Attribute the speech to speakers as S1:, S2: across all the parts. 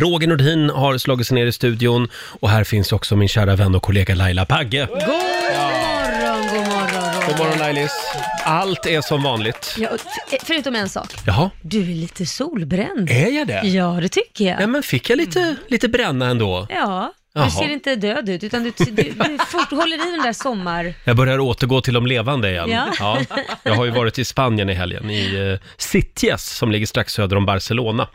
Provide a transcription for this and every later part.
S1: Roger Nordin har slagit sig ner i studion och här finns också min kära vän och kollega Laila Bagge.
S2: God morgon, god morgon Roger.
S1: God morgon Lailis. Allt är som vanligt.
S2: Ja, och f- eh, förutom en sak.
S1: Jaha,
S2: Du är lite solbränd.
S1: är jag det?
S2: Ja, det tycker
S1: Nej
S2: jag.
S1: men fick jag lite, lite bränna ändå?
S2: Ja,
S1: Jaha.
S2: du ser inte död ut, utan du, du, du fort, håller i den där sommar...
S1: Jag börjar återgå till de levande igen.
S2: Ja.
S1: jag har ju varit i Spanien i helgen, i eh, Sitges som ligger strax söder om Barcelona.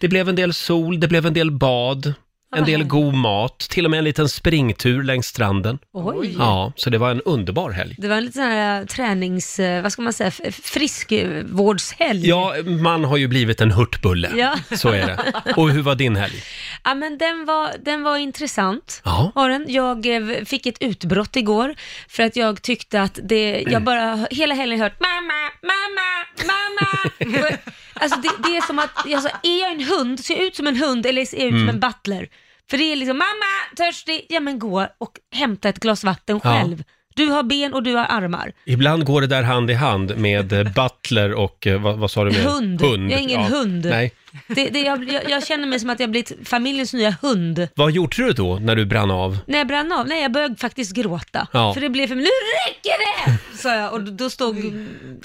S1: Det blev en del sol, det blev en del bad, en
S2: Mm. vad
S1: del
S2: härligt.
S1: god mat, till och med en liten springtur längs stranden.
S2: Oj.
S1: Ja, så det var en underbar helg.
S2: Det var en liten sån här tränings... eh, Vad ska man säga? f- Friskvårdshelg.
S1: Ja, man har ju blivit en hurtbulle.
S2: Ja.
S1: Så är det. Och hur var din helg?
S2: Ja, men den var, den var intressant.
S1: Ja.
S2: Var den. Jag eh, fick ett utbrott igår för att jag tyckte att det, jag bara hela helgen hört mamma, mamma, mamma. Och jag- alltså det, det är som att, jag sa, är jag en hund, ser jag ut som en hund eller ser jag ut som
S1: Mm.
S2: en butler? För det är liksom mamma, törstig, ja men gå och hämta ett glas vatten
S1: Ja.
S2: själv. Du har ben och du har armar.
S1: Ibland går det där hand i hand med eh, butler och, eh, vad, vad sa du mer?
S2: Hund. Jag är ingen hund.
S1: Nej.
S2: Det, det, jag, jag, jag känner mig som att jag blivit familjens nya hund.
S1: Vad gjorde du då när du brann av?
S2: När jag brann av, nej jag började faktiskt gråta.
S1: Ja.
S2: För det blev för mig, nu räcker det! Sa jag och då stod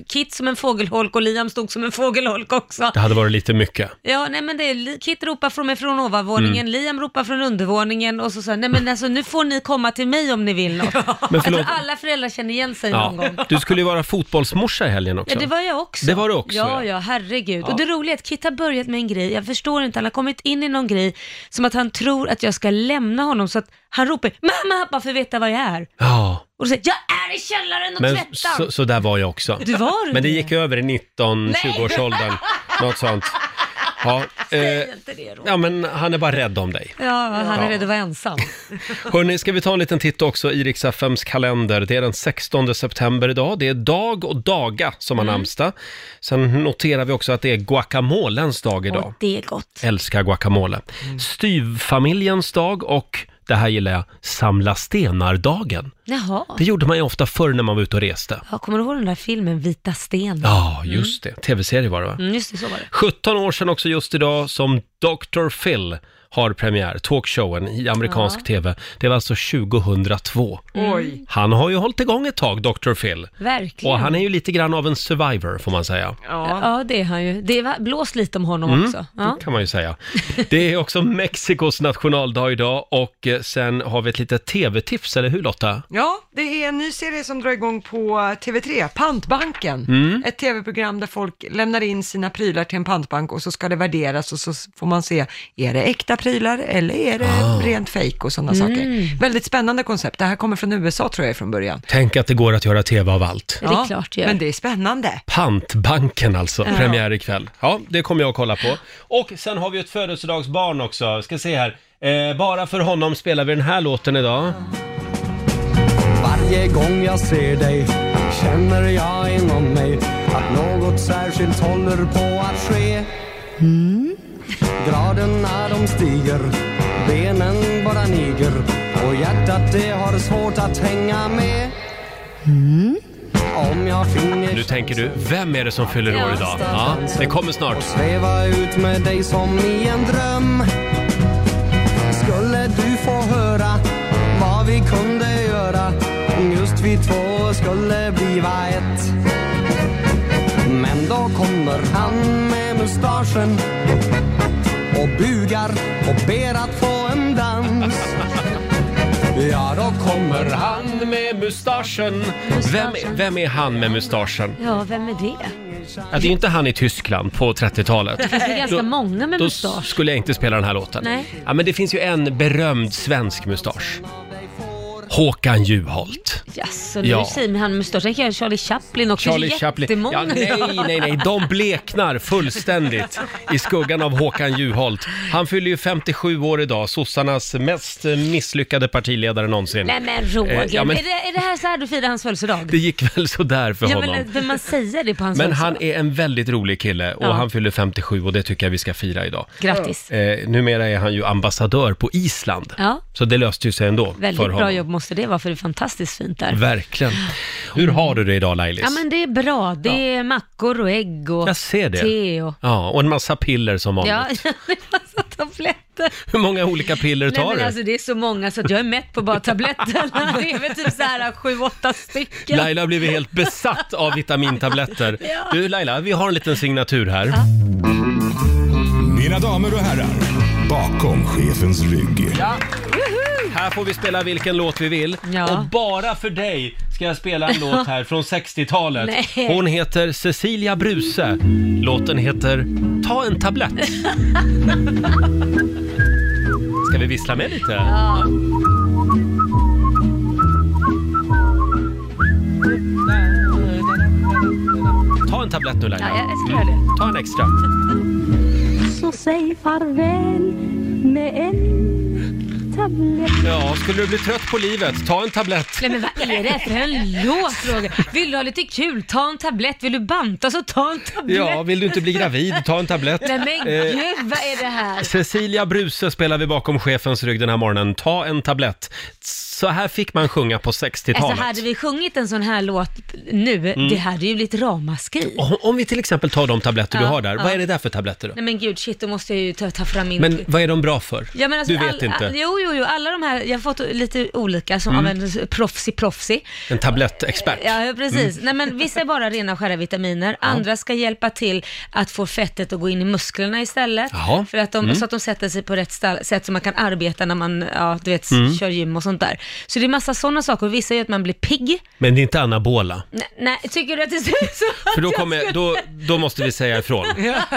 S2: Kit som en fågelholk och Liam stod som en fågelholk också.
S1: Det hade varit lite mycket.
S2: Ja, nej men det är, li- Kit ropar från mig från ovanvåningen,
S1: Mm.
S2: Liam ropar från undervåningen och så sa jag, nej men alltså nu får ni komma till mig om ni vill något.
S1: Men
S2: Jag tror
S1: förlåt,
S2: alla föräldrar känner igen sig någon gång.
S1: ja. du skulle ju vara fotbollsmorsa i helgen också.
S2: Ja, det var jag också.
S1: Det var du också, ja.
S2: Ja, ja, herregud. Och det roliga är att Kit har börjat med en grej, jag förstår inte, han har kommit in i någon grej som att han tror att jag ska lämna honom så att han ropar mamma bara för att veta vad jag är.
S1: Ja,
S2: Och då säger jag jag är i källaren och
S1: men
S2: tvättar.
S1: så, så där var jag också.
S2: Du var du
S1: Men det gick över i 19-20-årsåldern, något sånt. Ja, eh,
S2: Säg inte det då. Ja,
S1: ja, men han är bara rädd om dig.
S2: han är
S1: Ja.
S2: rädd att vara ensam.
S1: Hörni, ska vi ta en liten titt också i riks FMs kalender. Det är den 16 september idag. Det är Dag och Daga som
S2: Mm.
S1: har namnsdag. Sen noterar vi också att det är guacamolens dag idag.
S2: Och det Mm. är gott.
S1: Älskar guacamole. Styvfamiljens dag och, det här gillar jag, Samla stenar-dagen.
S2: Jaha.
S1: Det gjorde man ju ofta förr när man var ute och reste.
S2: Ja, kommer du ihåg den där filmen Vita sten?
S1: Ja, just det. Tv-serie var det va?
S2: Mm, just det, så var det.
S1: 17 år sedan också just idag som Dr. Phil har premiär, talkshowen i amerikansk
S2: Ja.
S1: tv. Det var alltså 2002.
S3: Oj.
S1: Han har ju hållit igång ett tag, Dr. Phil.
S2: Mm. Verkligen.
S1: Och han är ju lite grann av en survivor, får man säga.
S3: Ja.
S2: Ja, det är han ju. Det är, blås lite om honom också. Ja.
S1: Mm. kan man ju säga. Det är också Mexikos nationaldag idag och eh, sen har vi ett litet tv-tips, eller hur Lotta?
S3: ja, det är en ny serie som drar igång på eh, TV3, Pantbanken.
S1: Mm.
S3: Ett tv-program där folk lämnar in sina prylar till en pantbank och så ska det värderas och så får man se, är det äkta prylar eller är det
S1: Ah.
S3: rent fejk och sådana
S2: Mm.
S3: saker. Väldigt spännande koncept. Det här kommer från USA tror jag från början.
S1: Tänk att det går att göra tv av allt.
S2: Det är klart det gör.
S3: Men det är spännande.
S1: Pantbanken alltså, premiär ikväll. Ja, det kommer jag att kolla på. Och sen har vi ett födelsedagsbarn också, ska se här. Eh, bara för honom spelar vi den här låten idag.
S4: Varje gång jag ser dig känner jag inom mig att något särskilt håller på att ske. Graderna de stiger, benen bara niger och hjärtat det har svårt att hänga med. Om jag finner
S1: Nu tänker du, vem är det som fyller år idag? Ja,
S4: chansen
S1: det kommer snart.
S4: Och sväva ut med dig som i en dröm. Skulle du få höra vad vi kunde göra. Just vi två skulle bliva ett. Men då kommer han med mustaschen och bugar och ber att få en dans. Ja, då kommer han
S1: Han med mustaschen. Vem, vem är han med mustaschen?
S2: Ja, vem är det?
S1: Ja, det är ju inte han i Tyskland på 30-talet.
S2: Det är ganska
S1: Då-
S2: många med
S1: Då
S2: mustasch.
S1: skulle jag inte spela den här låten.
S2: Nej.
S1: Ja, men det finns ju en berömd svensk mustasch. Håkan Juholt.
S2: Jaså, nu
S1: Ja.
S2: säger man han med mustasch. Sen kan jag Charlie Chaplin också.
S1: Charlie
S2: det är
S1: Chaplin.
S2: jättemånga.
S1: Ja, nej, nej, nej. De bleknar fullständigt i skuggan av Håkan Juholt. Han fyller ju 57 år idag, sossarnas mest eh, misslyckade partiledare någonsin.
S2: Nej men Roger,
S1: Eh, ja, men-
S2: Är, det, är det här så här du firar hans födelsedag?
S1: Det gick väl sådär för
S2: ja,
S1: honom.
S2: men, men man säger det på hans
S1: Men
S2: födelsedag.
S1: han är en väldigt rolig kille och
S2: Ja.
S1: han fyller 57 och det tycker jag vi ska fira idag.
S2: Grattis.
S1: Eh, numera är han ju ambassadör på Island.
S2: Ja.
S1: Så det löste ju sig ändå
S2: Väldigt
S1: för
S2: bra
S1: honom.
S2: jobb måste det vara, för det är fantastiskt fint där.
S1: Verkligen. Hur har du det idag Lailis?
S2: Ja men det är bra. Det är mackor och ägg och
S1: Jag ser det.
S2: te och...
S1: Ja, och en massa piller som vanligt.
S2: Ja, det är massa tabletter. inte.
S1: Hur många olika piller
S2: Nej
S1: tar
S2: men
S1: du?
S2: alltså det är så många så att jag är mätt på bara tabletterna. Det är väl typ så här sju, åtta stycken.
S1: Laila har blivit helt besatt av vitamintabletter.
S2: Ja.
S1: Du Laila, vi har en liten signatur här.
S5: Mina damer och herrar, bakom chefens rygg.
S1: Här får vi spela vilken låt vi vill.
S2: Ja.
S1: Och bara för dig ska jag spela en låt här från 60-talet.
S2: Nej.
S1: Hon heter Cecilia Bruse. Låten heter Ta en tablett. Ska vi vissla med lite? Ta en tablett nu Laila. Mm.
S2: Ja, jag ska göra det.
S1: Ta en extra.
S6: Så säg farväl med en tablett.
S1: Ja, skulle du bli trött på livet, ta en tablett.
S2: Nej men vad är det för en låt Roger? Vill du ha lite kul, ta en tablett. Vill du banta så ta en tablett.
S1: Ja, vill du inte bli gravid, ta en tablett.
S2: Nej men
S1: Eh,
S2: gud, vad är det här?
S1: Cecilia Bruse spelar vi bakom chefens rygg den här morgonen. Ta en tablett. Så här fick man sjunga på 60-talet.
S2: Alltså hade vi sjungit en sån här låt nu,
S1: Mm.
S2: det hade ju blivit ramaskri.
S1: Om- Om vi till exempel tar de tabletter du
S2: Ja,
S1: har där, vad
S2: ja.
S1: är det där för tabletter då?
S2: Nej men gud, shit, då måste jag ju ta, ta fram min...
S1: Men vad är de bra för?
S2: Ja, men alltså,
S1: du vet
S2: all,
S1: inte. Mm.
S2: All, jo, jo, jo, alla de här, jag har fått lite olika som använder proffsig proffsig.
S1: En tablettexpert.
S2: Ja, ja, precis.
S1: Mm.
S2: Nej, men vissa är bara rena och skära vitaminer, andra ska hjälpa till att få fettet att gå in i musklerna istället.
S1: Jaha. Mm.
S2: För att de, Så att de sätter sig på rätt stall, sätt så man kan arbeta när man, ja, du vet,
S1: Mm.
S2: kör gym och sånt där. Så det är massa sådana saker, och vissa gör att man blir pigg.
S1: Men det är inte anabola.
S2: Nej, nej tycker du att det ser ut så?
S1: För då,
S2: att jag
S1: kommer,
S2: skulle-
S1: då, då måste vi säga ifrån.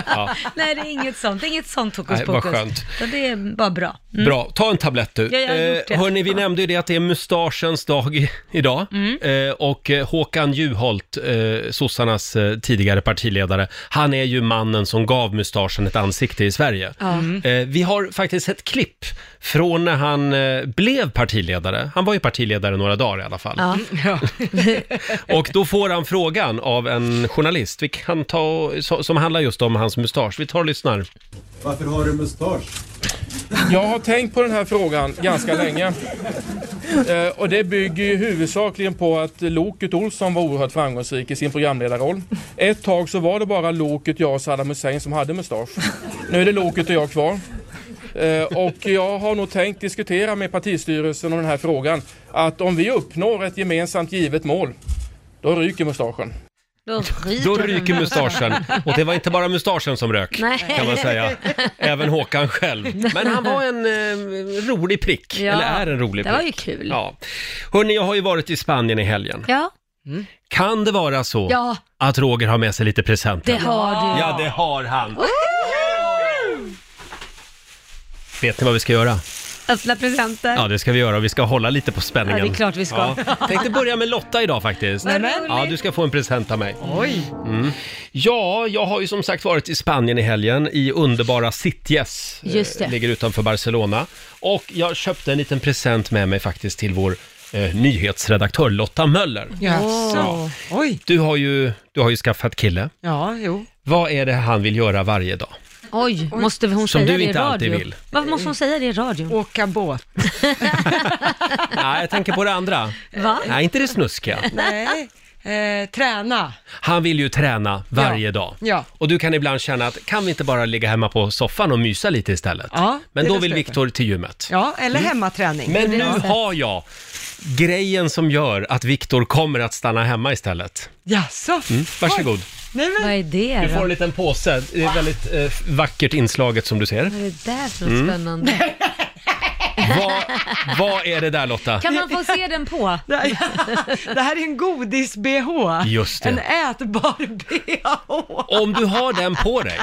S1: Ja,
S2: Nej, det är inget sånt. Det är inget sånt hokus
S1: Nej, vad
S2: pokus.
S1: skönt.
S2: Så det är bara bra.
S1: bra, ta en tablett du.
S2: Mm. Ja,
S1: Eh,
S2: jag har gjort det.
S1: hörni, vi nämnde ju det att det är mustaschens dag i- idag.
S2: Mm.
S1: Eh, och eh, Håkan Juholt, eh, sossarnas eh, tidigare partiledare, han är ju mannen som gav mustaschen ett ansikte i Sverige. Eh, vi har faktiskt ett klipp från när han eh, blev partiledare. Han var ju partiledare några dagar i alla fall.
S2: Ja.
S1: Och då får han frågan av en journalist vi kan ta, och- so- som handlar just om hans mustasch. Vi tar och lyssnar.
S7: Varför har du mustasch?
S8: Jag har tänkt på den här frågan ganska länge. Eh, och det bygger ju huvudsakligen på att Loket Olsson var oerhört framgångsrik i sin programledarroll. Ett tag så var det bara Loket, jag och Saddam Hussein som hade mustasch. Nu är det Loket och jag kvar. Eh, och jag har nog tänkt diskutera med partistyrelsen om den här frågan. Att om vi uppnår ett gemensamt givet mål, då ryker mustaschen.
S2: Då ryker,
S1: Då
S2: den.
S1: ryker mustaschen. Och det var inte bara mustaschen som rök,
S2: Nej.
S1: kan man säga. Även Håkan själv. Men han var en eh, rolig prick.
S2: Ja,
S1: Eller är en rolig
S2: det
S1: prick.
S2: var ju kul.
S1: Ja. Hörni, jag har ju varit i Spanien i helgen.
S2: Ja,
S1: Kan det vara så
S2: Ja.
S1: att Roger har med sig lite presenter?
S2: det har du.
S1: Ja, det har han. Vet ni vad vi ska göra?
S2: Öppna presenter.
S1: Ja, det ska vi göra och vi ska hålla lite på spänningen.
S2: Ja, det är klart vi ska.
S1: Ja. Tänkte börja med Lotta idag faktiskt.
S2: Vad
S1: Ja,
S2: roligt.
S1: du ska få en present av mig. Oj! Mm. Ja, jag har ju som sagt varit i Spanien i helgen, i underbara Sitges. eh,
S2: Just det.
S1: Ligger utanför Barcelona. Och jag köpte en liten present med mig faktiskt till vår eh, nyhetsredaktör Lotta Möller.
S3: Jaså? Oj.
S1: Du har, ju, du har ju skaffat kille.
S3: Ja, jo.
S1: Vad är det han vill göra varje dag?
S2: Oj, måste hon
S1: Som
S2: säga
S1: du
S2: det
S1: inte
S2: i radio?
S1: alltid vill.
S2: Varför måste hon säga det i radio?
S3: Åka båt.
S1: Nej, jag tänker på det andra.
S2: Va?
S1: Nej, inte det snuskiga.
S3: Nej. Eh, träna.
S1: Han vill ju träna varje
S3: Ja.
S1: dag.
S3: Ja.
S1: Och du kan ibland känna att kan vi inte bara ligga hemma på soffan och mysa lite istället?
S3: Ja,
S1: Men
S3: det
S1: då
S3: förstår
S1: vill
S3: jag.
S1: Viktor till gymmet.
S3: Ja, eller hemmaträning.
S1: Mm. Men nu har jag grejen som gör att Viktor kommer att stanna hemma istället. Mm.
S3: Jaså?
S1: Varsågod.
S3: Oj. Nej, men...
S2: Vad är det
S1: Du
S2: då?
S1: får en liten påse. Det är väldigt eh, vackert inslaget som du ser.
S2: Vad är det där för något spännande?
S3: Mm.
S1: Vad, vad är det där Lotta?
S2: Kan man få se den på?
S3: Det här- det här är en godis-bh.
S1: Just det.
S3: En ätbar bh.
S1: Om du har den på dig,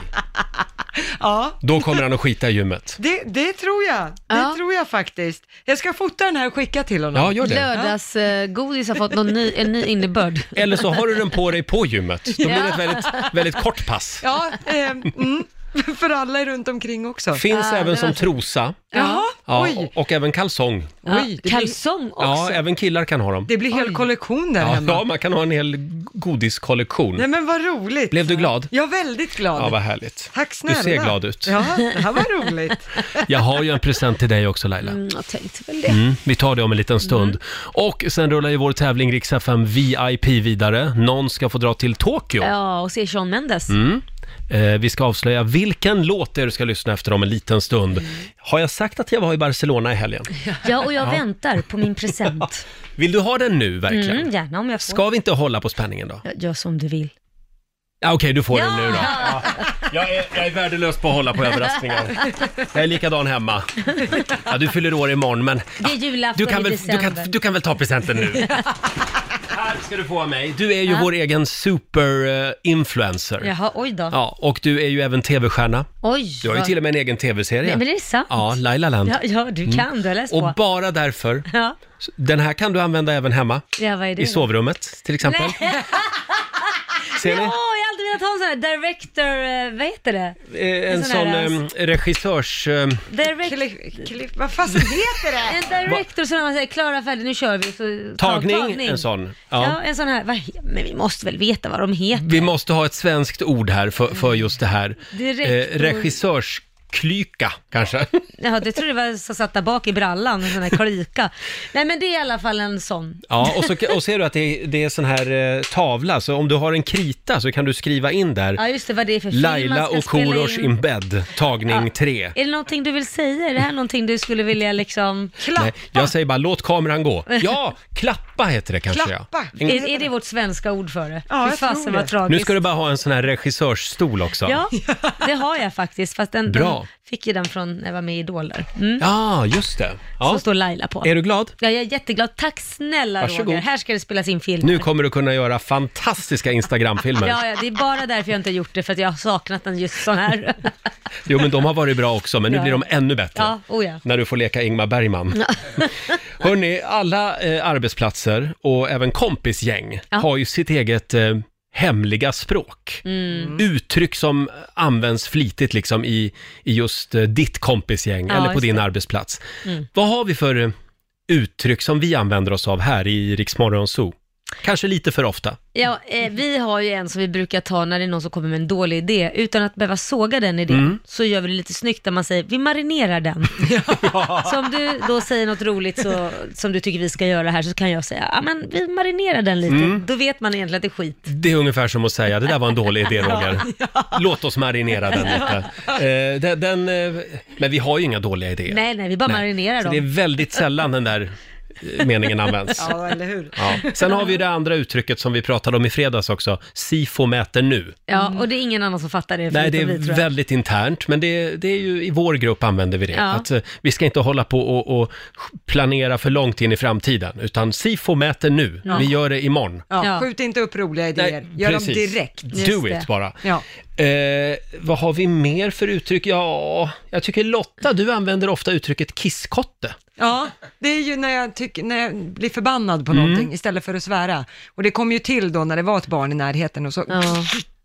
S3: Ja,
S1: då kommer han att skita i gymmet.
S3: det, det tror jag. Det
S2: Ja.
S3: tror jag faktiskt. Jag ska fota den här och skicka till honom.
S1: Ja, gör det.
S2: Lördagsgodis eh, har fått någon ny, en ny innebörd.
S1: Eller så har du den på dig på gymmet. Då blir det ett väldigt, väldigt kort pass.
S3: Ja, eh, mm, för alla är runt omkring också.
S1: Finns
S2: Ah,
S1: även
S2: det
S1: som
S2: var-
S1: trosa.
S3: Jaha,
S1: Ja,
S3: oj.
S1: och, och även kalsong.
S2: Ja,
S3: Oj, det blir,
S2: kalsong också.
S1: Ja, även killar kan ha dem.
S3: det blir hel kollektion där
S1: Ja,
S3: hemma.
S1: ja, man kan ha en hel godiskollektion.
S3: Nej men vad roligt.
S1: Blev du glad?
S3: Jag är väldigt glad.
S1: Ja, vad härligt.
S3: Tack
S1: Du
S3: snälla.
S1: ser glad ut.
S3: Ja, det här var roligt.
S1: Jag har ju en present till dig också Laila.
S2: Mm, jag tänkte väl det.
S1: Mm, vi tar det om en liten stund. Och sen rullar ju vår tävling Rix FM VIP vidare. Någon ska få dra till Tokyo.
S2: Ja, och se Sean Mendes.
S1: Eh, vi ska avslöja vilken låt det är du ska lyssna efter om en liten stund. Har jag sagt att jag var i Barcelona i helgen?
S2: Ja, och jag väntar på min present.
S1: Vill du ha den nu verkligen?
S2: Mm, gärna om jag får.
S1: Ska vi inte hålla på spänningen då?
S2: Ja, Gör som du vill.
S1: Ja, Okej, du får den nu då. Ja. Jag, är, jag är värdelös på att hålla på överraskningar. Jag är likadan hemma. Ja, du fyller år imorgon, men
S2: Det är julafton
S1: du kan,
S2: i
S1: väl, du,
S2: december.
S1: kan, du kan väl ta presenten nu? Här ska du få av mig. Du är ju vår egen super-influencer. Ja.
S2: Jaha, oj då.
S1: och du är ju även tv-stjärna.
S2: Oj.
S1: Du har ju
S2: vad-
S1: till och med en egen tv-serie.
S2: Nej, men det är sant.
S1: Ja, Laila Land.
S2: Ja, ja, du kan, du har läst
S1: Och
S2: på.
S1: bara därför,
S2: Ja.
S1: den här kan du använda även hemma.
S2: ja, vad är det?
S1: I sovrummet, till exempel. Ser
S2: Åh,
S1: ni?
S2: jag har alltid velat ha en sån här director, eh, vad heter det?
S1: Eh, En
S2: sån här,
S1: sån ehm, regissörs... ehm,
S2: Direct,
S3: Klipp, klipp, vad fasen heter det?
S2: en director som man säger, klara färdigt, nu kör vi. Så,
S1: Tagning, en sån.
S2: Ja.
S1: Ja.
S2: en sån här, vad, he- men vi måste väl veta vad de heter?
S1: Vi måste ha ett svenskt ord här för, för just det här. Eh,
S2: Direkt-
S1: regissörsklyka, kanske.
S2: Ja, det tror jag var som satt där bak i brallan, en sån här klyka. Nej, men det är i alla fall en sån.
S1: Ja, och, så, och ser du att det är, det är sån här eh, tavla, så om du har en krita så kan du skriva in där
S2: Ja, just det, vad det är för film man
S1: Laila
S2: ska
S1: och
S2: spela
S1: Korosh
S2: in.
S1: in bed, tagning
S2: Ja.
S1: 3.
S2: Är det någonting du vill säga? Är det här någonting du skulle vilja liksom...
S1: Nej, jag säger bara låt kameran gå. Ja, klappa heter det kanske
S3: Klappa.
S1: ja. En-
S2: Är, är det vårt svenska ord för det?
S3: Ja,
S2: Fy
S3: jag
S2: fasen
S3: tror det.
S2: vad tragiskt.
S1: Nu ska du bara ha en sån här regissörsstol också.
S2: Ja, det har jag faktiskt. Fast den,
S1: Bra.
S2: den fick ju den från när jag var med i Idol där. Mm.
S1: Ja, just det.
S2: Som
S1: Ja.
S2: står Laila på.
S1: Är du glad?
S2: Ja, jag är jätteglad. Tack snälla
S1: Varsågod.
S2: Roger. Här ska det spelas in film.
S1: Nu kommer du kunna göra fantastiska Instagramfilmer.
S2: Ja, ja, det är bara därför jag inte har gjort det, för att jag har saknat en just sån här.
S1: Jo, men de har varit bra också, men nu
S2: Ja.
S1: blir de ännu bättre.
S2: Ja, oh ja.
S1: När du får leka Ingmar Bergman. Hörni, alla eh, arbetsplatser och även kompisgäng
S2: Ja.
S1: har ju sitt eget eh, hemliga språk.
S2: Mm.
S1: Uttryck som används flitigt liksom i, i just eh, ditt kompisgäng
S2: Ja,
S1: eller på
S2: just
S1: din
S2: det. Mm.
S1: arbetsplats. Vad har vi för eh, uttryck som vi använder oss av här i Riksmorgon Zoo? Kanske lite för ofta.
S2: Ja, eh, vi har ju en som vi brukar ta när det är någon som kommer med en dålig idé. Utan att behöva såga den idén
S1: Mm.
S2: så gör vi det lite snyggt där man säger vi marinerar den. så om du då säger något roligt så, som du tycker vi ska göra här så kan jag säga ja men vi marinerar den lite.
S1: Mm.
S2: Då vet man egentligen att det är skit.
S1: Det är ungefär som att säga, det där var en dålig idé Roger. Låt oss marinera den lite. Eh, den, den, eh, men vi har ju inga dåliga idéer.
S2: Nej, nej, vi bara marinerar
S1: Så det är
S2: dem.
S1: väldigt sällan den där eh, meningen används.
S3: Ja, eller hur?
S1: Ja. Sen har vi det andra uttrycket som vi pratade om i fredags också, SIFO mäter nu.
S2: Ja, och det är ingen annan som fattar det
S1: Nej, det
S2: förutom vi,
S1: är
S2: tror jag.
S1: väldigt internt, men det, det är ju i vår grupp använder vi det.
S2: Ja.
S1: Att eh, vi ska inte hålla på och, och planera för långt in i framtiden, utan SIFO mäter nu, vi gör det imorgon.
S3: Ja,
S2: Ja.
S3: Skjut inte upp roliga idéer,
S1: Nej,
S3: gör
S1: precis.
S3: dem direkt.
S1: Do
S2: Just
S1: it
S2: det.
S1: bara.
S3: Ja.
S1: Eh, vad har vi mer för uttryck? Ja, jag tycker Lotta, du använder ofta uttrycket kisskotte.
S3: Ja, det är ju när jag, tycker, när jag blir förbannad
S1: Mm.
S3: på någonting istället för att svära. Och det kom ju till då när det var ett barn i närheten och så
S2: Ja.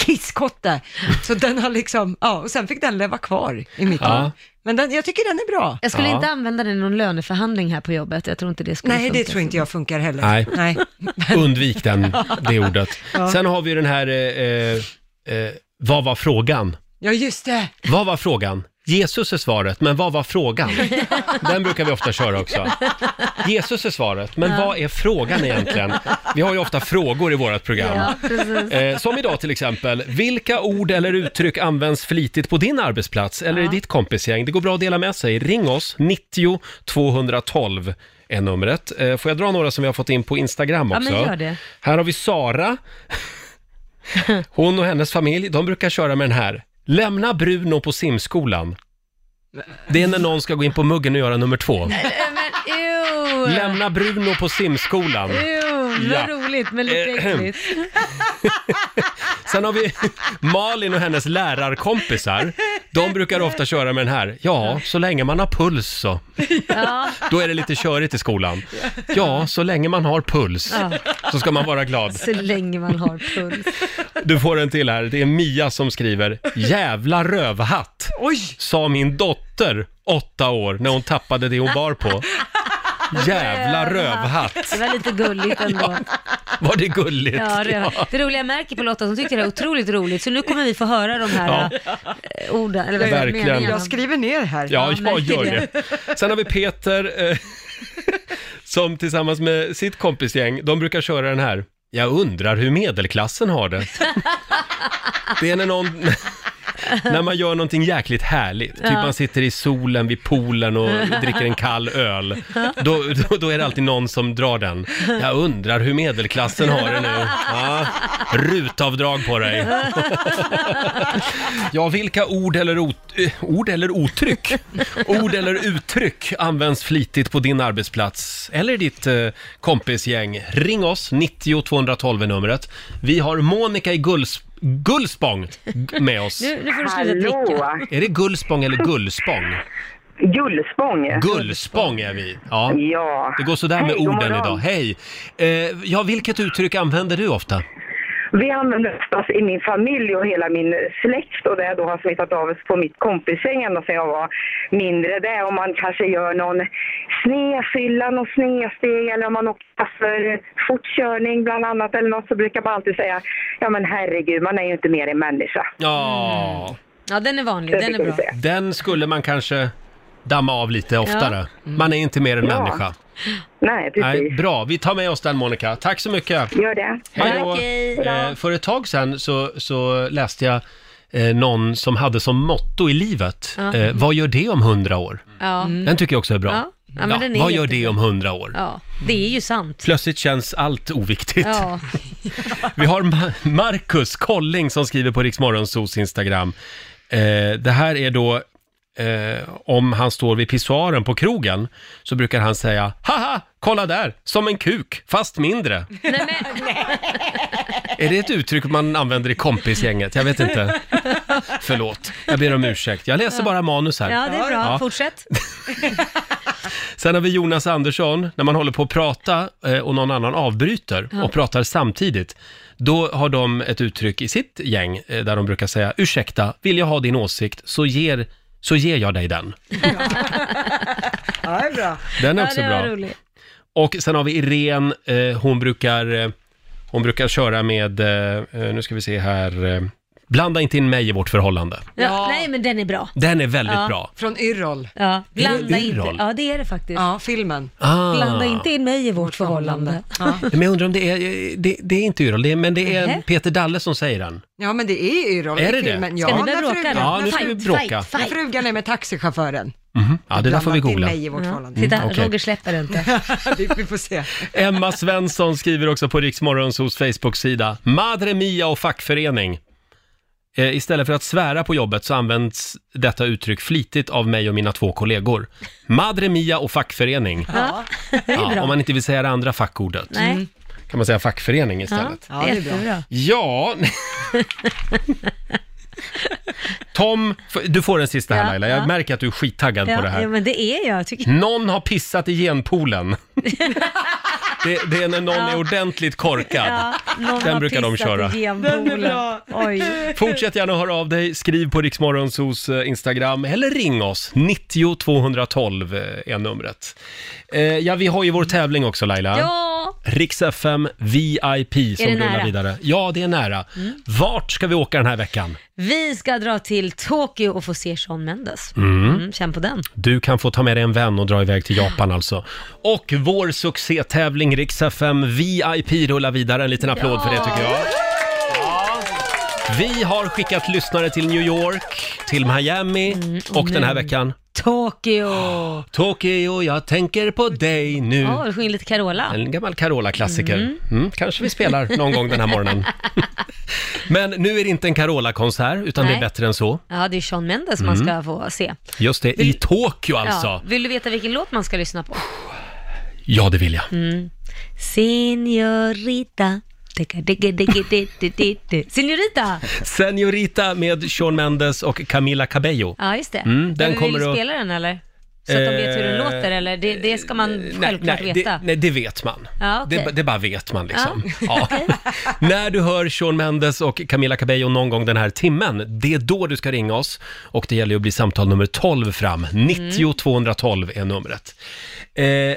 S3: kisskotte. Så den har liksom, ja, och sen fick den leva kvar i mitt
S1: Ja.
S3: liv. Men den, jag tycker den är bra.
S2: Jag skulle
S1: Ja.
S2: inte använda den i någon löneförhandling här på jobbet. Jag tror inte det skulle
S3: Nej, det
S2: funka.
S3: tror inte jag funkar heller.
S1: Nej.
S3: Nej.
S1: Undvik den, det ordet. Sen har vi den här, eh, eh, vad var frågan?
S3: Ja, just det.
S1: Vad var frågan? Jesus är svaret, men vad var frågan? Den brukar vi ofta köra också. Jesus är svaret, men vad är frågan egentligen? Vi har ju ofta frågor i vårt program.
S2: Ja, precis.
S1: Eh, som idag till exempel, vilka ord eller uttryck används flitigt på din arbetsplats eller i ditt kompisgäng? Det går bra att dela med sig. Ring oss, 90 212 är numret. Eh, får jag dra några som vi har fått in på Instagram
S2: Ja,
S1: också?
S2: men gör det.
S1: Här har vi Sara. Hon och hennes familj, de brukar köra med den här. Lämna Bruno på simskolan. Det är när någon ska gå in på muggen och göra nummer två.
S2: Eh, Men ew.
S1: Lämna Bruno på simskolan.
S2: Ew,
S1: Ja.
S2: vad roligt men lite
S1: Eh,
S2: äckligt.
S1: Sen har vi Malin och hennes lärarkompisar. De brukar ofta köra med den här. Ja, så länge man har puls så.
S2: Ja,
S1: Då är det lite körigt i skolan. Ja, så länge man har puls
S2: Ja.
S1: så ska man vara glad.
S2: så länge man har puls.
S1: Du får en till här. Det är Mia som skriver. Jävla rövhatt,
S3: Oj,
S1: sa min dotter, åtta år, när hon tappade det hon bar på. Jävla rövhatt.
S2: Det var lite gulligt ändå.
S1: Var det gulligt?
S2: Ja, det, det roliga jag märker på Lotta, hon tyckte det var otroligt roligt, så nu kommer vi få höra de här eh, orden, eller vad jag
S1: Verkligen.
S2: menar.
S3: jag skriver ner här.
S1: Ja,
S2: Ja,
S1: jag
S2: märker
S1: gör det.
S2: det.
S1: Sen har vi Peter eh, som tillsammans med sitt kompisgäng, de brukar köra den här. Jag undrar hur medelklassen har det. Det är när någon, när man gör någonting jäkligt härligt, typ man sitter i solen vid poolen och dricker en kall öl, då, då, då är det alltid någon som drar den. Jag undrar hur medelklassen har det nu. Ja, rutavdrag på dig. Ja, vilka ord eller, ot- eh, ord eller ottryck? Ord eller uttryck används flitigt på din arbetsplats eller ditt eh, kompisgäng. Ring oss, 90 212 är numret. Vi har Monica i Gulls- Gullspång g- med oss.
S2: Nu, nu får du sluta dricka.
S1: Är det Gullspång eller Gullspång?
S9: Gullspång.
S1: Gullspång är vi. Ja,
S9: Ja.
S1: det går sådär med
S9: Hej, god
S1: orden
S9: morgon.
S1: idag. Hej! Eh, ja, vilket uttryck använder du ofta?
S9: Vi använder oftast i min familj och hela min släkt och det jag då har smittat av oss på mitt kompisgäng ända sedan jag var mindre. Det är om man kanske gör någon snefylla, någon snesteg eller om man åker fast för fortkörning bland annat eller något så brukar man alltid säga ja men herregud man är ju inte mer än människa.
S1: Ja,
S2: Ja, den är vanlig.
S9: Det
S2: Mm. Den
S9: brukar
S2: är
S9: vi
S2: bra.
S9: säga.
S1: den skulle man kanske damma av lite oftare.
S2: Mm.
S1: Man är inte mer än
S9: Ja.
S1: människa.
S9: Nej precis.
S1: Nej, bra, vi tar med oss den Monica. Tack så mycket.
S9: Gör det.
S1: Hej då.
S2: Tack, hej.
S1: Eh, för ett tag sedan så, så läste jag eh, någon som hade som motto i livet, eh, vad gör det om hundra år?
S2: Ja.
S1: Den tycker jag också är bra.
S2: Mm. Ja. Ja, men den är
S1: vad gör
S2: jättebra.
S1: det om hundra år?
S2: ja, det är ju sant.
S1: Plötsligt känns allt oviktigt.
S2: Ja.
S1: Vi har Ma- Marcus Kolling som skriver på Riksmorgonsos Instagram. Eh, det här är då eh, om han står vid pissoaren på krogen så brukar han säga “Haha, kolla där, som en kuk, fast mindre”. är det ett uttryck man använder i kompisgänget? Jag vet inte. Förlåt, jag ber om ursäkt. Jag läser bara manus här.
S2: ja, det är bra.
S1: Ja.
S2: Fortsätt.
S1: Sen har vi Jonas Andersson, när man håller på att prata eh, och någon annan avbryter och pratar samtidigt. Då har de ett uttryck i sitt gäng eh, där de brukar säga ursäkta, vill jag ha din åsikt så ger, så ger jag dig den.
S3: Ja, det är bra.
S1: Den är
S2: Ja,
S1: också
S2: det var
S1: bra.
S2: roligt.
S1: Och sen har vi Irene, eh, hon brukar, eh, hon brukar köra med, eh, eh, nu ska vi se här, eh, blanda inte in mig i vårt förhållande.
S2: Ja, nej, men den är bra.
S1: Den är väldigt
S2: Ja.
S1: bra.
S3: Från Yrrol.
S2: Ja,
S1: är
S2: blanda
S1: din
S2: inte.
S1: roll.
S2: Ja, det är det faktiskt.
S3: Ja, filmen.
S1: Ah.
S2: Blanda inte in mig i vårt förhållande.
S3: Ja.
S1: Men jag undrar om det är, det, det är inte Yrrol, det är- men det är
S2: Nej.
S1: Peter Dalle som säger den.
S3: ja, men det är Yrrol
S1: Är
S3: i
S1: det det?
S3: filmen.
S2: Ska
S3: ja,
S2: ni börja
S3: när
S2: bråka nu?
S3: frugan,
S1: Ja, nu ska vi bråka.
S2: Fight,
S3: när
S2: fight, fight.
S3: frugan är med taxichauffören.
S1: Ja, det där får vi
S3: Blandat in
S1: googla. Mm,
S3: mig i vårt förhållande.
S2: Mm. Titta,
S1: okej.
S2: Roger släpper inte.
S3: vi, vi får se.
S1: Emma Svensson skriver också på Riksmorgonsos Facebook-sida. Madre mia och fackförening. Eh, istället för att svära på jobbet så används detta uttryck flitigt av mig och mina två kollegor. Madre mia och fackförening.
S2: Ja, det är
S1: Ja, om
S2: bra.
S1: man inte vill säga det andra fackordet
S2: Nej,
S1: kan man säga fackförening
S2: ja,
S1: istället.
S2: det
S3: Ja,
S2: är
S3: det är bra.
S2: jättebra.
S1: Ja. Tom, f- du får den sista här
S2: Ja,
S1: Laila. Jag
S2: ja.
S1: märker att du är skittaggad på det
S2: Ja,
S1: här. Mm.
S2: ja, men det är jag. Tycker...
S1: Någon har pissat i genpoolen. det, det är när någon är ordentligt korkad.
S2: Ja, någon
S1: Den
S2: har
S1: brukar de
S2: pissat
S1: köra.
S2: i genpoolen. Oj.
S1: Fortsätt gärna höra av dig. Skriv på Riksmorgonsos eh, Instagram eller ring oss. 90 212 eh, är numret. Eh, ja, vi har ju vår tävling också Laila.
S2: Ja,
S1: Riks FM VIP
S2: det
S1: som rullar
S2: nära? Mm.
S1: vidare. Ja, det är nära. Vart ska vi åka den här veckan?
S2: vi ska dra till Tokyo och få se Sean Mendes. Mm, känn på den.
S1: Du kan få ta med dig en vän och dra iväg till Japan alltså. Och vår succétävling Rix FM VIP rullar vidare. En liten applåd för det tycker jag. Ja. Vi har skickat lyssnare till New York, till Miami
S2: Mm,
S1: och, den här veckan
S2: Tokyo!
S1: Tokyo, jag tänker på dig nu.
S2: Ja, du sjunger lite Carola.
S1: En gammal Carola-klassiker. Mm, kanske vi spelar någon gång den här morgonen. Men nu är det inte en Carola-konsert, utan det är
S2: Nej.
S1: bättre än så.
S2: Ja, det är Sean Mendes man ska få se.
S1: Just det, i Mm. Tokyo alltså.
S2: Ja.
S1: Ja,
S2: Vill du veta vilken låt man ska lyssna på? Mm.
S1: det vill jag.
S2: Senorita. Digga, digga, digga, di, di, di, di. Senorita!
S1: Senorita med Sean Mendes och Camila Cabello.
S2: Ja, just det.
S1: Mm, den
S2: Men
S1: kommer
S2: vill du
S1: att-
S2: spela den eller? Så att de vet hur den
S1: Eh,
S2: låter eller? Det, det ska man
S1: Nej,
S2: självklart
S1: nej,
S2: veta.
S1: det, nej, det vet man.
S2: Ja, okej.
S1: det, det bara vet man liksom. Ja. När du hör Sean Mendes och Camila Cabello någon gång den här timmen, det är då du ska ringa oss. Och det gäller
S2: Mm.
S1: ju att bli samtal nummer 12 fram. 90 212 är numret. Eh,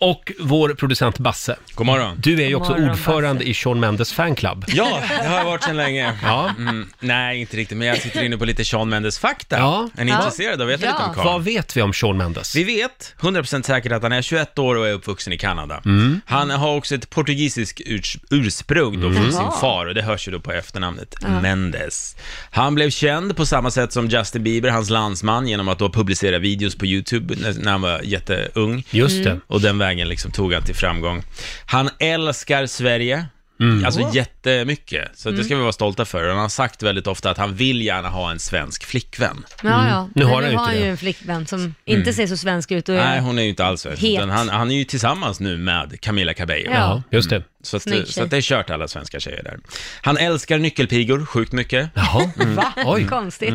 S1: Och vår producent Basse.
S10: God morgon.
S1: Du är ju också
S10: God morgon,
S1: ordförande i Sean Mendes fanclub.
S10: Ja, det har jag varit sedan länge.
S1: Ja.
S10: Mm, nej, inte riktigt, men jag sitter inne på lite Sean Mendes-fakta.
S1: Ja.
S10: Är ni
S1: Ja.
S10: intresserade av att veta
S1: Ja.
S10: lite om
S1: Vad
S10: vet
S1: vi om Sean Mendes?
S10: Vi vet 100% säkert att han är 21 år och är uppvuxen i Kanada.
S1: Mm.
S10: Han har också ett portugisiskt urs- ursprung då
S1: Mm.
S10: från
S1: Jaha.
S10: sin far och det hörs ju då på efternamnet
S1: Ja.
S10: Mendes. Han blev känd på samma sätt som Justin Bieber, hans landsman, genom att då publicera videos på YouTube när, när han var jätteung.
S1: Just det. Mm.
S10: Och den vägen liksom tog han till framgång. Han älskar Sverige.
S1: Mm.
S10: Alltså
S1: Åh.
S10: jättemycket, så det ska
S11: Mm.
S10: vi vara stolta för. Och Han har sagt väldigt ofta att han vill gärna ha en svensk flickvän.
S2: Ja, ja.
S10: Mm. Nu
S2: Men
S10: har han ju inte det.
S2: ju en flickvän som
S10: Mm.
S2: inte ser så svensk ut. Och
S10: Nej, hon är ju inte alls svensk.
S2: Het.
S10: Utan han, han är ju tillsammans nu med Camilla Cabello. Mm.
S2: Ja. Ja,
S1: just det.
S10: Så,
S2: Snygg
S10: att,
S2: tjej.
S10: så att det är kört alla svenska tjejer där. Han älskar nyckelpigor sjukt mycket. Mm.
S1: Jaha,
S2: Va? Konstigt.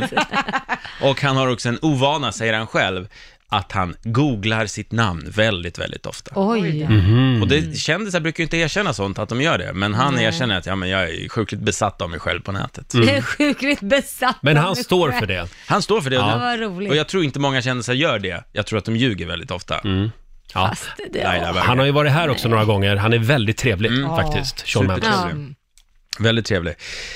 S10: Och han har också en ovana, säger han själv, att han googlar sitt namn väldigt, väldigt ofta.
S2: Oj. Mm.
S10: Och det, kändisar brukar ju inte erkänna sånt, att de gör det. Men han
S2: Nej.
S10: erkänner att ja, men jag är sjukligt besatt av mig själv på nätet.
S2: Jag är sjukligt besatt av mig själv.
S10: Han står för det.
S2: Ja, vad roligt.
S10: Och jag tror inte många kändisar gör det. Jag tror att de ljuger väldigt ofta.
S1: Ja.
S2: det-
S1: Han har ju varit här också några gånger. Han är väldigt trevlig
S10: Mm.
S1: faktiskt, Sean Mendes.
S10: Supertrevlig. Väldigt trevlig.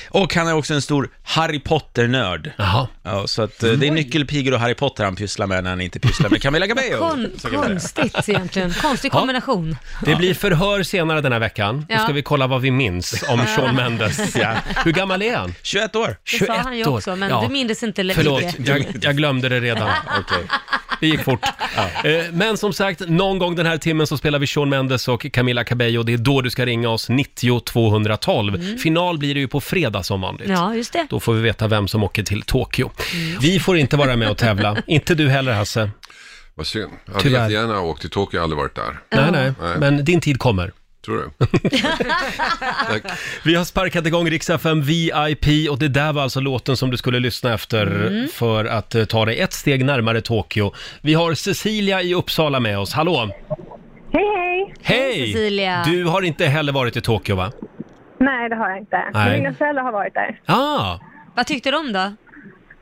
S10: Och han är också en stor Harry Potter-nörd. Ja, så att eh, det är nyckelpigor och Harry Potter han pysslar med när han inte pysslar med Camilla Cabello.
S2: Kon-
S10: Så kan vi säga.
S2: konstigt egentligen. Konstig
S1: Ja.
S2: kombination.
S1: Det blir förhör senare den här veckan. Då
S2: Ja.
S1: ska vi kolla vad vi minns om Sean Mendes.
S10: Ja.
S1: Hur gammal är han?
S10: 21 år.
S2: Det sa han ju också, men
S1: Ja.
S2: du mindes inte längre.
S1: Förlåt, jag, jag glömde det redan. Det gick fort. Eh, Men som sagt, någon gång den här timmen så spelar vi Sean Mendes och Camila Cabello. Det är då du ska ringa oss, 90 212.
S2: Mm.
S1: Final blir det ju på fredag som vanligt.
S2: Ja, Mm. just det.
S1: Då får vi veta vem som åker till Tokyo. Vi får inte vara med och tävla. inte du heller Hasse.
S12: Vad synd. Jag hade
S1: Tyvärr.
S12: jättegärna åkt till Tokyo, jag har aldrig varit där.
S1: Nej, nej, men din tid kommer.
S12: Tror du?
S1: Vi har sparkat igång Rix FM VIP och det där var alltså låten som du skulle lyssna efter
S12: Mm.
S1: för att eh, ta dig ett steg närmare Tokyo. Vi har Cecilia i Uppsala med oss. Hallå!
S13: Hej, hej!
S1: Hej! Du har inte heller varit i Tokyo va?
S13: Nej, det har jag inte. Men
S1: Nej.
S13: Mina föräldrar har varit där.
S1: Ah!
S2: Vad tyckte de då?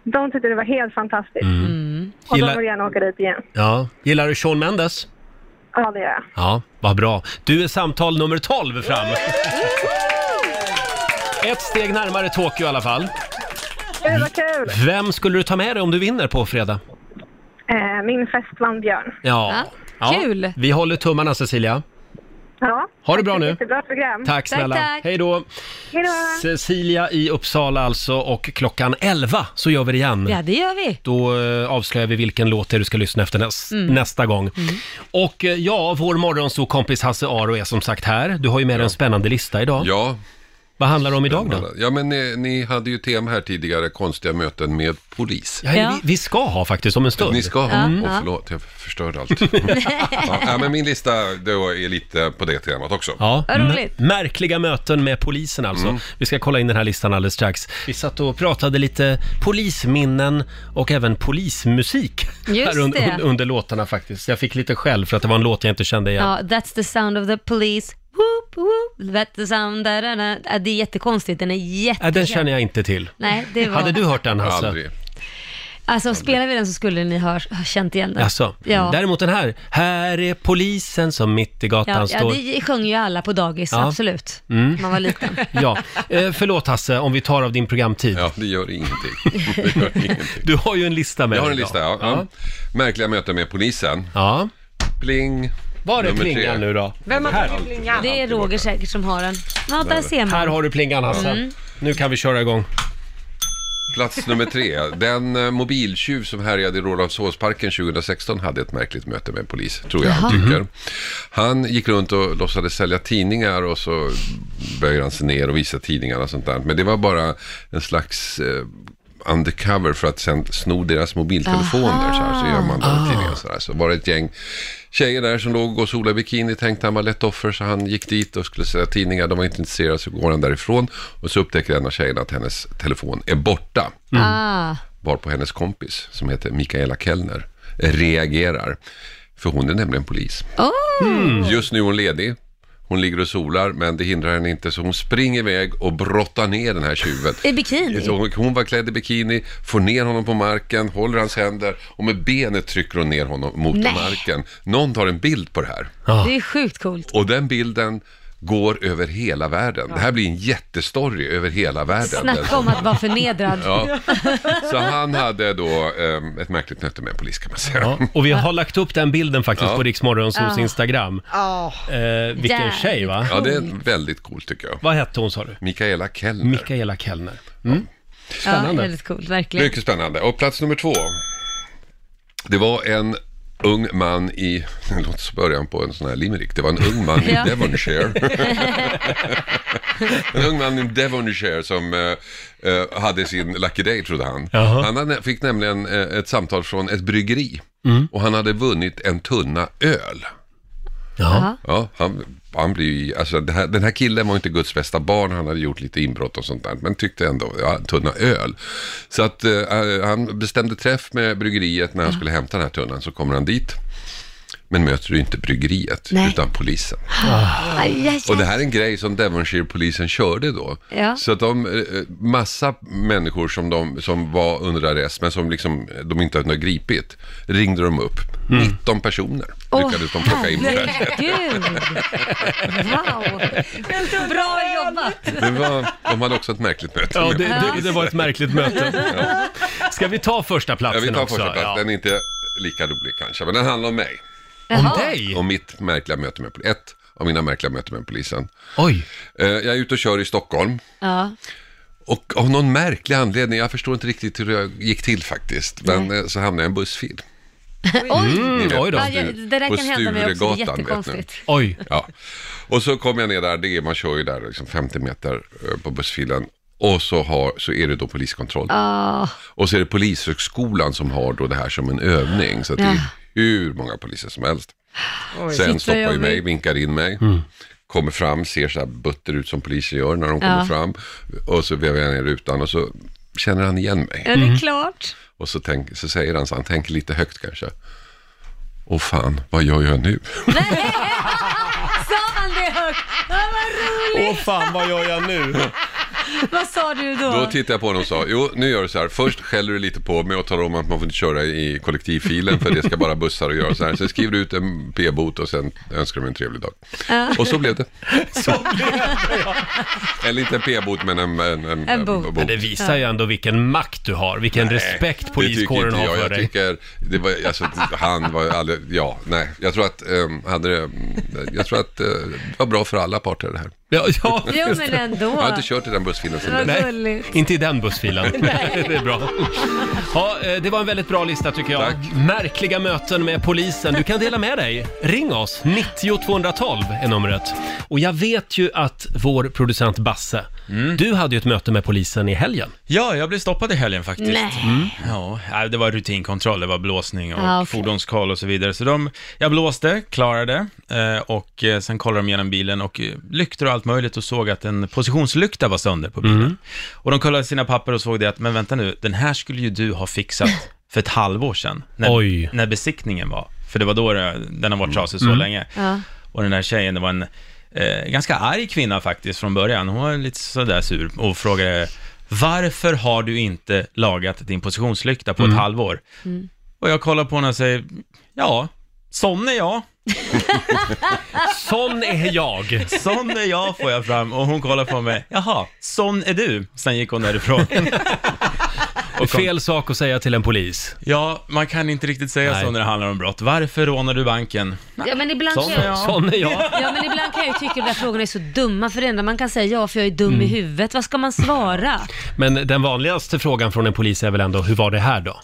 S13: De tyckte det var helt fantastiskt.
S1: Mm.
S13: Och
S1: Gillar-
S13: de vill gärna åka dit igen.
S1: Ja. Gillar du Sean Mendes?
S13: Ja, det gör jag.
S1: Ja, vad bra. Du är samtal nummer 12 fram. Ett steg närmare Tokyo i alla fall.
S13: Gud, vad kul!
S1: Vem skulle du ta med dig om du vinner på fredag?
S13: Eh, min fästman Björn.
S1: Ja.
S13: Ja,
S1: ja.
S13: kul.
S1: Vi håller tummarna Cecilia.
S13: Ja.
S1: Ha det bra nu.
S13: Jättebra program.
S1: Tack snälla. Hej då.
S13: Hej då.
S1: Cecilia i Uppsala alltså och klockan 11 så gör vi det igen.
S2: Ja, det gör vi.
S1: Då eh, avslöjar vi vilken låt det är du ska lyssna efter näs-
S2: Mm.
S1: nästa gång. Och eh, ja, vår morgonsokompis Hasse Aro är som sagt här. Du har ju med dig en spännande lista idag.
S12: Ja.
S1: Vad handlar det om idag då?
S12: Ja, men ni, ni hade ju tema här tidigare, konstiga möten med polis.
S1: Ja, Ja. vi- ska ha faktiskt om en stund.
S12: Ni ska ha?
S1: Ja,
S12: Åh,
S1: ja.
S12: förlåt, jag förstörde allt. ja, ja, men min lista då är lite på det temat också.
S1: Ja,
S12: Vad roligt.
S1: m- märkliga möten med polisen alltså. Vi ska kolla in den här listan alldeles strax. Vi satt och pratade lite polisminnen och även polismusik
S2: Just
S1: här un-
S2: det.
S1: un- under låtarna faktiskt. Jag fick lite skäll för att det var en låt jag inte kände igen.
S2: Ja, that's the sound of the police. Whoop, whoop. That's the sound. Da, da, da. Ja, Det är jättekonstigt, den är
S1: Äh,
S2: jättekänd.
S1: den känner jag inte till.
S2: Nej, det var...
S1: Hade du hört den Hasse? Aldrig.
S2: Alltså, spelar vi den så skulle ni ha, ha känt igen den.
S1: Alltså,
S2: Ja.
S1: Däremot den här. Här är polisen som mitt i gatan
S2: ja, ja,
S1: står.
S2: det sjöng ju alla på dagis,
S1: Ja.
S2: absolut.
S1: Mm.
S2: Man var liten.
S1: Ja, eh, förlåt Hasse om vi tar av din programtid. Ja,
S12: det gör ingenting.
S1: Du har ju en lista med
S12: Jag har en
S1: dig
S12: lista, ja.
S1: idag. Ja.
S12: Märkliga möten med polisen.
S1: Ja.
S12: Pling.
S1: Var är
S12: Nummer tre.
S1: plingan nu då?
S2: Vem
S1: Här.
S2: Det är Roger säkert som har den. Ja, där ser man.
S1: Här har du plingan Hasse.
S2: Mm.
S1: Nu kan vi köra igång.
S12: Plats nummer tre. Den eh, mobiltjuv som härjade i Rålambshovsparken 2016 hade ett märkligt möte med en polis, tror jag han
S5: Jaha.
S12: tycker. Han gick runt och låtsades sälja tidningar och så böjer han sig ner och visar tidningarna och sånt där. Men det var bara en slags eh, undercover för att sen sno deras mobiltelefoner. Så, här, så gör man
S5: Aha.
S12: ah. tidningar så, här. så var det ett gäng tjejer där som låg och solade i bikini, tänkte han var lätt offer, så han gick dit och skulle sälja tidningar, de var inte intresserade, så går han därifrån och så upptäcker en av tjejerna att hennes telefon är borta
S1: Mm.
S2: Ah.
S12: varpå hennes kompis, som heter Mikaela Kellner, reagerar. För hon är nämligen polis.
S2: Oh.
S1: Mm.
S12: Just nu är hon ledig. Hon ligger och solar, men det hindrar henne inte, så hon springer iväg och brottar ner den här tjuven.
S2: I bikini?
S12: Så hon- Hon var klädd i bikini, får ner honom på marken, håller hans händer och med benet trycker hon ner honom mot
S2: Nej.
S12: marken. Någon tar en bild på det här.
S2: Det är sjukt coolt.
S12: Och den bilden går över hela världen. Det här blir en jättestory över hela världen.
S2: Snacka om att vara förnedrad.
S12: Ja. Så han hade då ehm, ett märkligt möte med en polis kan man säga.
S1: Ja, och vi har lagt upp den bilden faktiskt på Riksmorgonsos
S12: Ja.
S1: Instagram.
S3: Ja.
S1: Eh, vilken
S12: Jävligt
S1: tjej va?
S12: Ja, det är väldigt coolt tycker jag.
S1: Vad hette hon sa du?
S12: Mikaela Kellner.
S1: Mikaela Kellner. Mm.
S2: Ja,
S12: Spännande.
S2: väldigt coolt, verkligen.
S12: Mycket spännande. Och plats nummer två. Det var en ung man i, det låter som början på en sån här limerick, det var en ung man i
S11: Ja.
S12: Devonshire. en ung man i Devonshire som eh, eh, hade sin Lucky Day trodde han. Han hade, fick nämligen eh, ett samtal från ett bryggeri och han hade vunnit en tunna öl.
S1: Ja.
S12: Ja, han, han blir ju, alltså det här, den här killen var inte Guds bästa barn, han hade gjort lite inbrott och sånt där, men tyckte ändå, ja, en tunna öl. Så att eh, han bestämde träff med bryggeriet när han skulle hämta den här tunnan, så kommer han dit, men möter ju inte bryggeriet,
S2: Nej.
S12: utan polisen.
S2: Aj, aj,
S12: Och det
S2: aj.
S12: här är en grej som Devonshire-polisen körde då.
S2: Ja.
S12: Så att de, eh, massa människor som, de, som var under arrest, men som liksom, eh, de inte hade gripit, ringde de upp. 19 personer
S2: Åh,
S12: lyckades de plocka in på det här.
S2: herregud. Wow! Bra jobbat!
S12: Det var, de hade också ett märkligt möte.
S1: Ja, det, det, det var ett märkligt möte.
S12: Ja.
S1: Ska vi ta första
S12: Jag
S1: platsen
S12: vill ta
S1: också?
S12: första plats.
S1: Ja.
S12: Den är inte lika rolig kanske, men den handlar om mig.
S1: Jaha. dig?
S12: Om mitt märkliga möte med polisen. Ett av mina märkliga möten med polisen. Eh,
S1: Oj.
S12: Jag är ute och kör i Stockholm.
S2: Ja.
S12: Och av någon märklig anledning, jag förstår inte riktigt hur det gick till faktiskt, men eh, så hamnade jag i en bussfil.
S2: Mm. Oj!
S12: Mm, Ni vet,
S2: Ja,
S12: på
S2: jag-
S12: Stu-
S2: det där
S12: på
S2: kan hända mig också,
S12: Sturegatan,
S2: det är
S12: vet ni.
S2: jättekonstigt.
S1: Oj.
S12: Ja. Och så kom jag ner där, det är, man kör ju där liksom 50 meter eh, på bussfilen. Och så, har, så är det då poliskontroll.
S2: Ah.
S12: Och så är det Polishögskolan som har då det här som en övning. Så att det
S2: Ja.
S12: är hur många poliser som helst.
S2: Oj. Shit,
S12: Sen
S2: vad
S12: stoppar ju
S2: jobbigt.
S12: mig, vinkar in mig. Kommer fram, ser så här butter ut som poliser gör när de kommer
S2: Ja.
S12: fram. Och så vevar jag ner rutan och så känner han igen mig.
S2: Ja, det är klart.
S12: Och så, tänk, så säger han så, han tänker lite högt kanske. Åh fan, vad gör jag nu?
S2: Sa han det högt? Ja, vad roligt!
S1: fan, vad gör jag nu?
S2: Vad sa du då?
S12: Då tittade jag på honom och sa, jo nu gör du så här, först skäller du lite på mig och talar om att man får inte köra i kollektivfilen för det ska bara bussar och göra så här. Sen skriver du ut en p-bot och sen önskar du mig en trevlig dag.
S2: Ja.
S12: Och så blev det. Eller inte en p-bot men en, en, en,
S2: En bot.
S1: Men det visar ju ändå vilken makt du har, vilken respekt poliskåren
S12: det tycker
S1: har
S12: inte
S1: för
S12: jag. Jag
S1: dig.
S12: tycker, det var, alltså, han var aldrig, ja, nej, jag tror att, um, hade det, jag tror att eh, det var bra för alla parter det här.
S1: Ja, ja.
S2: Jo, men ändå.
S12: Jag har inte kört i den bussfilen sedan dess.
S1: Nej,
S2: gulligt.
S1: inte i den bussfilen. det är bra. Ja, eh, det var en väldigt bra lista tycker jag. Märkliga möten med polisen. Du kan dela med dig. Ring oss, 90 212 är numret. Och jag vet ju att vår producent Basse, du hade ju ett möte med polisen i helgen.
S10: Ja, jag blev stoppad i helgen faktiskt.
S1: Nej.
S10: Mm. Ja, nej, det var rutinkontroll, det var blåsning och
S1: Ah, okej.
S10: fordonskoll och så vidare. Så de, jag blåste, klarade eh, och eh, sen kollade de igenom bilen och eh, lyktor och allt möjligt och såg att en positionslykta var sönder på bilen.
S1: Mm.
S10: Och de kollade sina papper och såg det att, men vänta nu, den här skulle ju du ha fixat för ett halvår sedan, när, när besiktningen var. För det var då det, den har varit trasig så
S14: Mm.
S10: länge.
S14: Ja.
S10: Och den här tjejen, det var en eh, ganska arg kvinna faktiskt från början. Hon var lite sådär sur och frågade varför har du inte lagat din positionslykta på ett halvår?
S14: Mm.
S10: Och jag kollar på henne och säger, ja, sån är jag.
S1: sån är jag.
S10: Sån är jag får jag fram och hon kollar på mig, jaha, sån är du. Sen gick hon därifrån.
S1: Fel sak att säga till en polis.
S10: Ja, man kan inte riktigt säga
S1: Nej.
S10: så när det handlar om brott. Varför rånar du banken?
S2: Ja, men ibland
S10: Sån
S2: kan
S10: är jag. Sån är jag.
S2: Ja, men ibland kan jag ju tycka att de där frågorna är så dumma, för det enda man kan säga ja, för jag är dum i
S1: Mm.
S2: huvudet. Vad ska man svara?
S1: Men den vanligaste frågan från en polis är väl ändå, hur var det här då?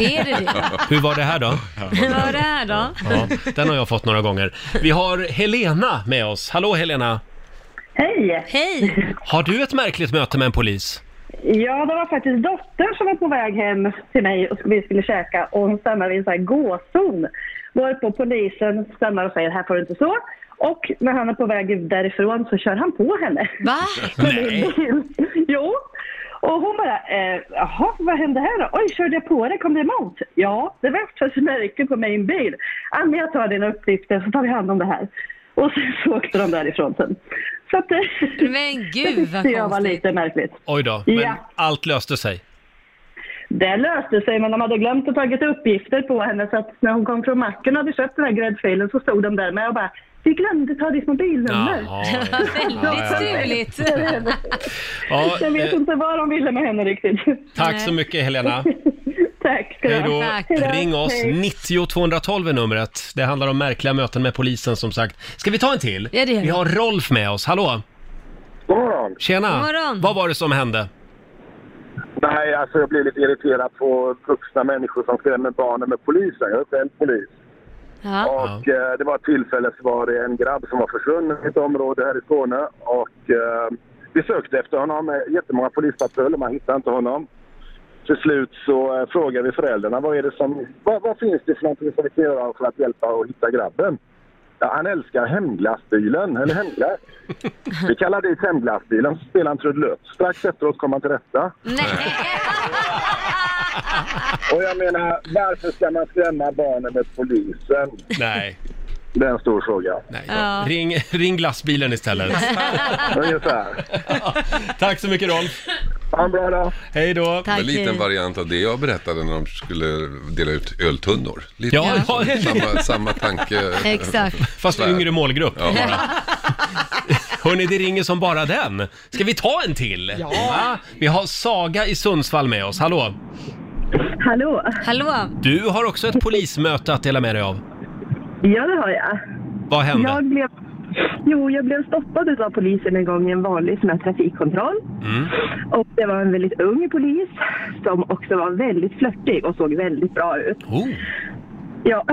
S2: Är det det?
S1: Hur var det här då?
S2: Vad var det här då?
S1: Ja, den har jag fått några gånger. Vi har Helena med oss. Hallå Helena!
S15: Hej!
S2: Hej!
S1: Har du ett märkligt möte med en polis?
S15: Ja, det var faktiskt dottern som var på väg hem till mig och vi skulle käka och hon stannade vid en sån här gåzon. Varpå polisen stannar och säger här får du inte stå. Och när han är på väg därifrån så kör han på henne.
S2: Va?
S15: Nej. jo. Och hon bara, eh, jaha, vad hände här då? Oj, körde jag på dig? Kom det emot? Ja, det var ett märke på min bil. Annie, jag tar dina uppgifter så tar vi hand om det här. Och sen så åkte de därifrån sen. Så att, eh,
S2: men gud
S15: vad konstigt. jag var lite märkligt.
S1: Oj då, men
S15: Ja.
S1: allt löste sig.
S15: Det löste sig, men de hade glömt att tagit uppgifter på henne så att när hon kom från macken och hade köpt den här gräddfilen så stod de där med och bara vi glömde ta ditt mobilnummer.
S1: Jaha,
S2: Det var väldigt struligt.
S1: Ja,
S15: jag vet
S1: eh,
S15: inte vad de ville med henne riktigt.
S1: Tack så mycket Helena.
S15: Tack ska
S1: Hej
S15: du
S1: då.
S15: ha.
S1: Ring oss,
S15: Hej.
S1: 90 212 är numret. Det handlar om märkliga möten med polisen som sagt. Ska vi ta en till?
S2: Ja, det gör vi.
S1: vi har Rolf med oss, hallå? God morgon. Tjena.
S2: God morgon.
S1: Vad var det som hände?
S11: Nej, alltså jag blir lite irriterad på vuxna människor som skrämmer barnen med polisen. Jag är själv polis. Och eh, det var ett tillfälle så var det en grabb som var försvunnen i ett område här i Skåne. Och eh, vi sökte efter honom med jättemånga polispatruller, man hittade inte honom. Till slut så eh, frågade vi föräldrarna vad, är det som, vad, vad finns det för någonting som vi kan göra för att hjälpa och hitta grabben? Ja, han älskar hemglassbilen, eller hemglass. Vi kallar dit hemglassbilen, så spelar han trudelutt. Strax efter oss kom han till rätta. Och jag menar, varför ska man skrämma barnen med polisen?
S1: Nej.
S11: Det är en stor fråga.
S2: Ja.
S1: Ring, ring glassbilen istället.
S11: Ungefär.
S1: Tack så mycket Rolf.
S11: Ha en bra dag.
S1: Hej då.
S12: en liten variant av det jag berättade när de skulle dela ut öltunnor. Lite
S1: Ja,
S12: så.
S1: ja.
S12: Samma, samma tanke.
S2: Exakt.
S1: Eh, Fast yngre målgrupp.
S12: Ja, bara.
S1: Hörni, det ringer som bara den. Ska vi ta en till? Ja. Vi har Saga i Sundsvall med oss, hallå? Mm.
S15: Hallå.
S2: Hallå.
S1: Du har också ett polismöte att dela med dig av.
S14: Ja, det har jag.
S1: Vad hände?
S14: Jag blev, jo, jag blev stoppad av polisen en gång i en vanlig sån här trafikkontroll.
S11: Hmm?
S1: Mm.
S14: Och det var en väldigt ung polis som också var väldigt flörtig och såg väldigt bra ut. Ja,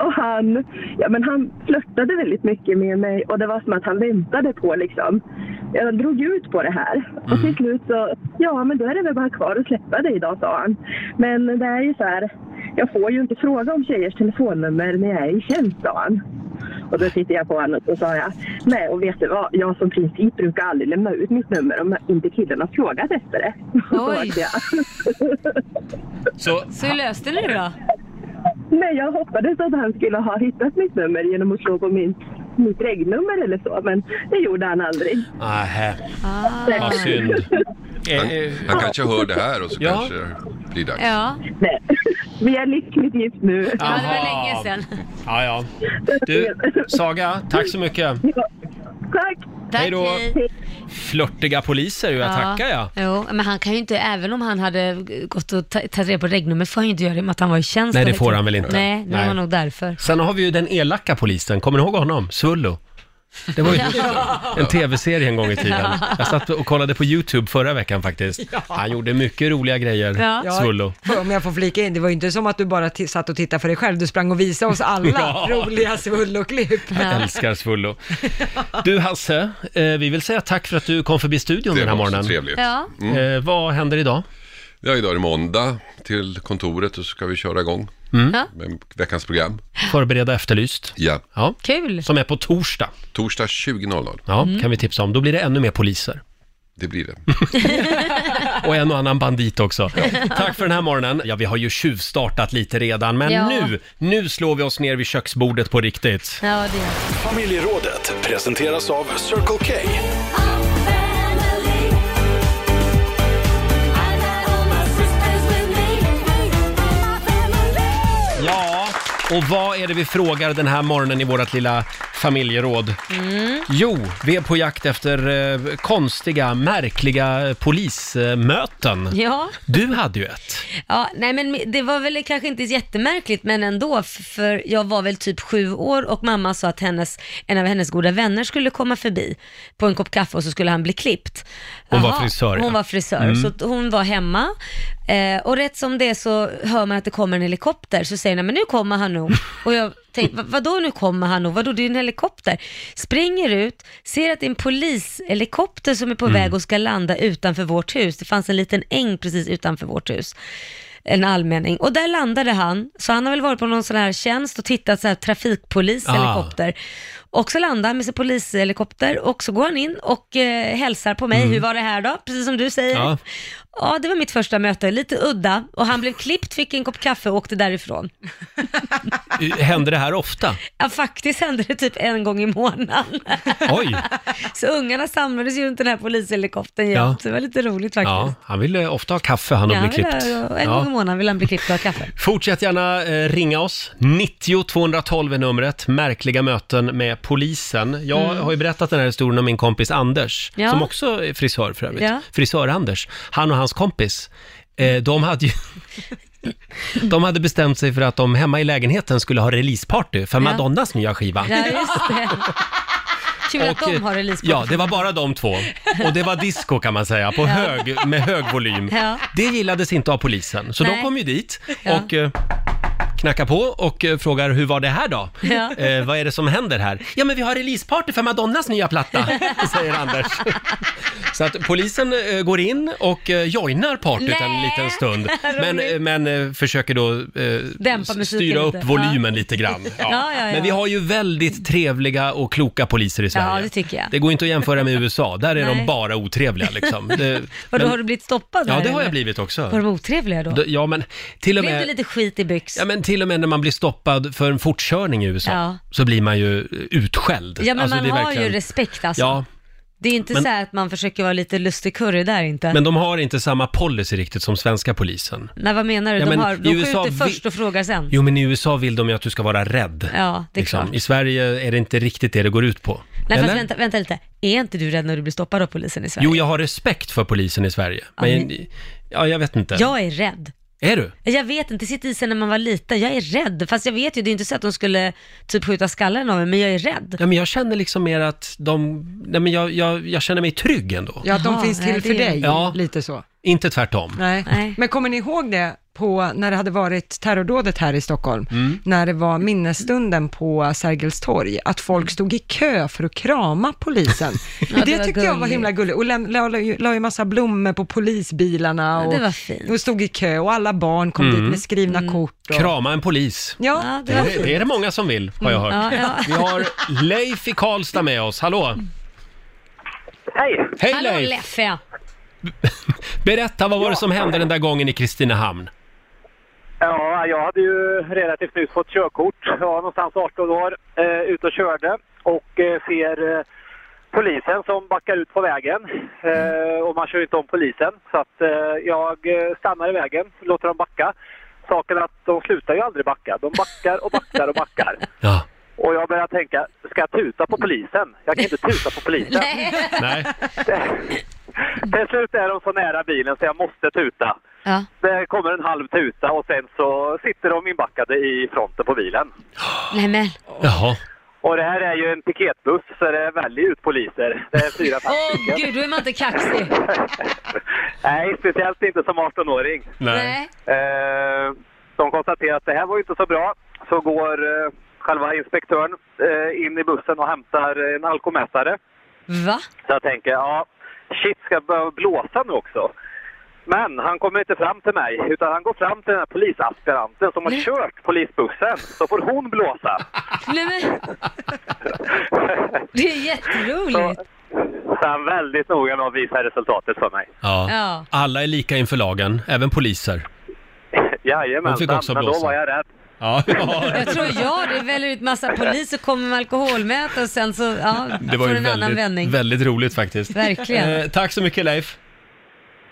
S14: och han, ja, men han flörtade väldigt mycket med mig och det var som att han väntade på liksom. Jag drog ut på det här och till slut så, ja men då är det väl bara kvar att släppa dig idag sa han. Men det är ju så här, jag får ju inte fråga om tjejers telefonnummer när jag är i tjänst sa han. Och då tittade jag på honom och sa jag, nej och vet du vad, jag som princip brukar aldrig lämna ut mitt nummer om inte killen har frågat efter det.
S2: Oj.
S1: Så,
S2: Så hur löste ni det då?
S14: Nej, jag hoppades att han skulle ha hittat mitt nummer genom att slå på min, mitt regnummer eller så, men det gjorde han aldrig.
S1: Nähä.
S14: Nej.
S1: Vad synd.
S12: Han, han kanske hör det här och så kanske det blir dags.
S2: Ja.
S14: Nej. Vi är lyckligt gift nu.
S1: Ja, det var länge sedan. Ja, ja. Du, Saga, tack så mycket.
S14: Tack.
S2: Tack,
S1: Hej då. Flörtiga poliser, ju. jag tackar jag.
S2: Jo, men han kan ju inte, även om han hade gått och ta- tagit reda på regnummer, får han ju inte göra det med att han var i tjänst.
S1: Nej, det
S2: då,
S1: får
S2: vet
S1: han
S2: jag.
S1: väl inte.
S2: Nej, det
S1: Nej.
S2: var nog därför.
S1: Sen har vi ju den elaka polisen, kommer ni ihåg honom? Svullo. Det var ju en tv-serie en gång i tiden. Jag satt och kollade på YouTube förra veckan faktiskt. Han gjorde mycket roliga grejer, Svullo.
S3: Ja, Om jag får flika in, det var ju inte som att du bara t- satt och tittade för dig själv, du sprang och visade oss alla
S1: Ja.
S3: roliga Svullo-klipp.
S1: Jag älskar Svullo. Du Hasse, eh, vi vill säga tack för att du kom förbi studion
S12: Det
S1: den här
S12: var så
S1: morgonen.
S12: trevligt. Ja. Mm.
S1: Eh, vad händer idag?
S12: Ja, idag är det måndag till kontoret och så ska vi köra igång
S1: Mm.
S12: med veckans program.
S1: Förbereda Efterlyst.
S12: Ja.
S1: ja.
S2: Kul.
S1: Som är på torsdag.
S12: Torsdag 20.00.
S1: Ja, kan vi tipsa om. Då blir det ännu mer poliser.
S12: Det blir det.
S1: Och en och annan bandit också. Tack för den här morgonen. Ja, vi har ju tjuvstartat lite redan, men
S2: Ja.
S1: nu, nu slår vi oss ner vid köksbordet på riktigt.
S2: Ja, det
S5: Familjerådet presenteras av Circle K.
S1: Ja, och vad är det vi frågar den här morgonen i vårt lilla familjeråd?
S2: Mm.
S1: Jo, vi är på jakt efter eh, konstiga, märkliga eh, polismöten.
S2: Ja.
S1: Du hade ju ett.
S2: Ja, nej men det var väl kanske inte jättemärkligt men ändå, f- för jag var väl typ sju år och mamma sa att hennes, en av hennes goda vänner skulle komma förbi på en kopp kaffe och så skulle han bli klippt.
S1: Hon var frisör, ja.
S2: Hon var frisör,
S1: Mm.
S2: så att hon var hemma eh, och rätt som det så hör man att det kommer en helikopter, så säger hon, men nu kommer han nog. Och jag tänkte, "Va- vadå nu kommer han nog? Vadå, det är ju en helikopter. Springer ut, ser att det är en polishelikopter som är på
S16: Mm.
S2: väg och ska landa utanför vårt hus. Det fanns en liten äng precis utanför vårt hus en allmänning. Och där landade han, så han har väl varit på någon sån här tjänst och tittat så här trafikpolis,
S16: Ah.
S2: helikopter. Och så landar han med sin polishelikopter och så går han in och eh, hälsar på mig.
S16: Mm.
S2: Hur var det här då? Precis som du säger.
S16: Ja.
S2: Ja. det var mitt första möte. Lite udda. Och han blev klippt, fick en kopp kaffe och åkte därifrån.
S1: Händer det här ofta?
S2: Ja, faktiskt hände det typ en gång i månaden.
S1: Oj!
S2: Så ungarna samlades ju runt den här polishelikoptern
S1: Ja.
S2: jämt. Det var lite roligt faktiskt.
S1: Ja, han ville ofta ha kaffe han och
S2: Ja,
S1: bli
S2: han vill
S1: klippt.
S2: ha- En
S1: Ja.
S2: gång i månaden vill han bli klippt och ha kaffe.
S1: Fortsätt gärna eh, ringa oss. 90 212 är numret. Märkliga möten med polisen. Jag
S2: Mm.
S1: har ju berättat den här historien om min kompis Anders,
S2: Ja.
S1: som också är frisör för övrigt.
S2: Ja.
S1: Frisör-Anders. Han och hans kompis, eh, de hade ju... De hade bestämt sig för att de hemma i lägenheten skulle ha releaseparty för
S2: Ja.
S1: Madonnas nya skiva.
S2: Ja, just det. Kul att
S1: Och,
S2: de
S1: eh,
S2: har releaseparty.
S1: Ja, det var bara de två. Och det var disco kan man säga, på
S2: Ja.
S1: hög, med hög volym.
S2: Ja.
S1: Det gillades inte av polisen, så de
S2: Nej.
S1: kom ju dit
S2: Ja.
S1: och eh, knackar på och eh, frågar hur var det här då?
S2: Ja.
S1: Eh, vad är det som händer här? Ja men vi har releaseparty för Madonnas nya platta, säger Anders. Så att polisen eh, går in och eh, joinar partyt en
S2: Nej,
S1: liten stund.
S2: roligt.
S1: Men, eh, men eh, försöker då eh,
S2: Dämpa
S1: s-
S2: musiken
S1: styra upp
S2: lite.
S1: volymen lite grann.
S2: Ja, ja, ja.
S1: Men vi har ju väldigt trevliga och kloka poliser i Sverige.
S2: Ja, det tycker jag.
S1: Det går inte att jämföra med USA, där är de
S2: Nej.
S1: bara otrevliga liksom. Det,
S2: Vadå,
S1: men-
S2: har du blivit stoppad
S1: Ja,
S2: där,
S1: det har
S2: eller?
S1: jag blivit också.
S2: Var de otrevliga då?
S1: D- Ja, men till och
S2: Blev du
S1: med...
S2: lite skit i byx?
S1: Ja, men till och med när man blir stoppad för en fortkörning i USA
S2: Ja.
S1: så blir man ju utskälld.
S2: Ja, men
S1: Alltså,
S2: man
S1: det är
S2: har
S1: verkligen-
S2: ju respekt alltså.
S1: Ja,
S2: Det är inte
S1: Men-
S2: så här att man försöker vara lite lustigkurre där inte.
S1: men de har inte samma policy riktigt som svenska polisen.
S2: Nej, vad menar du?
S1: Ja,
S2: de
S1: men
S2: har, de
S1: i USA
S2: skjuter
S1: vi-
S2: först och frågar sen.
S1: Jo, men i USA vill de ju att du ska vara rädd. liksom.
S2: Ja, det är klart.
S1: I Sverige är det inte riktigt det det går ut på.
S2: Nej,
S1: Eller?
S2: fast vänta, vänta lite. Är inte du rädd när du blir stoppad av polisen i Sverige?
S1: Jo, jag har respekt för polisen i Sverige. Men,
S2: ni-
S1: ja, jag vet inte.
S2: Jag är rädd.
S1: Är du?
S2: Jag vet inte, det sitter i sig när man var liten. Jag är rädd, fast jag vet ju, det är inte så att de skulle typ skjuta skallen av mig, men jag är rädd.
S1: Ja, men jag känner liksom mer att de... Nej, men jag, jag, jag känner mig trygg ändå.
S3: Ja, att de
S2: Jaha,
S3: finns till
S2: nej,
S3: för
S2: det-
S3: dig,
S1: Ja.
S3: lite så.
S1: Inte tvärtom.
S3: Nej. Men kommer ni ihåg det på när det hade varit terrordådet här i Stockholm,
S2: Mm.
S3: när det var minnesstunden på Sergels torg, att folk stod i kö för att krama polisen. det
S2: det var
S3: tyckte jag var
S2: gulligt.
S3: himla gulligt. Och läm- la, la, ju- la ju massa blommor på polisbilarna
S2: Ja,
S3: och,
S2: det var fint.
S3: och stod i kö och alla barn kom
S1: Mm.
S3: dit med skrivna kort. Och,
S1: Krama en polis.
S3: Ja,
S1: Det,
S3: var
S1: är-
S3: fint.
S1: det är det många som vill, har jag
S3: Mm.
S1: hört.
S3: Ja, ja.
S1: Vi har Leif i Karlstad med oss. Hallå!
S17: Hej!
S1: Hej
S2: Hallå
S1: Leif!
S2: Leffe!
S1: Berätta, vad var det som hände den där gången i Kristinehamn?
S17: Ja, jag hade ju relativt nyss fått körkort. Jag var någonstans 18 år, eh, ute och körde och eh, ser eh, polisen som backar ut på vägen. Eh, och man kör inte om polisen. Så att eh, jag eh, stannar i vägen, låter dem backa. Saken är att de slutar ju aldrig backa. De backar och backar och backar. Och jag börjar tänka, ska jag tuta på polisen? Jag kan inte tuta på polisen.
S1: Nej.
S17: Till slut är de så nära bilen så jag måste tuta.
S2: Ja.
S17: Det kommer en halv tuta och sen så sitter de inbackade i fronten på bilen.
S2: Nej men,
S1: Jaha.
S17: Och det här är ju en piketbuss så det väljer ut poliser. Det är fyra, fem
S2: åh
S17: stycken.
S2: gud, då är man inte kaxig.
S17: Nej, speciellt inte som 18-åring.
S2: Nej.
S17: Eh, de konstaterar att det här var ju inte så bra. Så går eh, själva inspektören eh, in i bussen och hämtar en alkomätare.
S2: Va?
S17: Så jag tänker, ja, shit, ska jag behöva blåsa nu också? Men han kommer inte fram till mig, utan han går fram till den här polisaspiranten som har kört polisbussen, så får hon blåsa.
S2: Nej men, det är jätteroligt.
S17: Så han är väldigt noga med att visa resultatet för mig.
S1: Ja.
S2: Ja.
S1: Alla är lika inför lagen, även poliser. Hon fick
S17: Jajamensan,
S1: också
S17: men då
S1: blåsa.
S17: var jag rädd.
S1: Ja,
S2: Jag tror jag det väljer ut massa poliser, kommer med alkoholmätare och sen så, ja,
S1: det var
S2: får
S1: ju
S2: en annan vändning.
S1: väldigt, väldigt roligt faktiskt.
S2: Verkligen.
S1: Eh, tack så mycket Leif.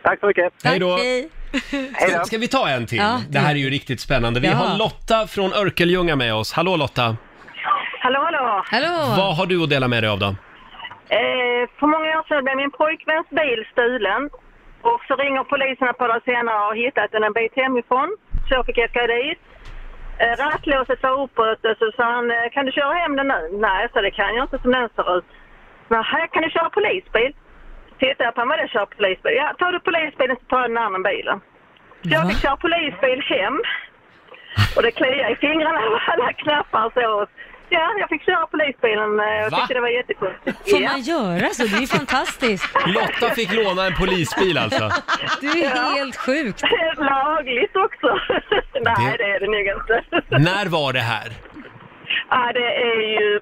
S17: Tack så mycket.
S1: Hej då.
S2: Hej.
S1: Ska, ska vi ta en till?
S2: Ja,
S1: det här är ju riktigt spännande. Vi
S2: Ja.
S1: har Lotta från Örkelljunga med oss. Hallå Lotta!
S18: Hallå, hallå!
S2: Hallå!
S1: Vad har du att dela med dig av då?
S18: Eh, för många år sedan blev min pojkväns bil stulen. Och så ringer polisen ett par dagar senare och har hittat den en bit hemifrån. Så jag fick åka dit. Eh, rattlåset var uppbrutet så sa han, eh, kan du köra hem den nu? Nej, så det kan jag inte som den ser ut. Nähä, kan du köra polisbil? Tittade jag på honom, vadå köra polisbil? Ja, tar du polisbilen så tar jag den andra bilen. Så jag fick köra polisbil hem. Och det kliade i fingrarna av alla knappar så. Ja, jag fick köra polisbilen eh, och
S1: Va?
S18: tyckte det var jättekult.
S2: Får man göra så? Det är ju fantastiskt.
S1: Lotta fick låna en polisbil alltså.
S2: Det är helt sjukt.
S18: Lagligt också. Nej,
S1: Det-
S18: det är det nog inte.
S1: När var det här?
S18: Ja, det är ju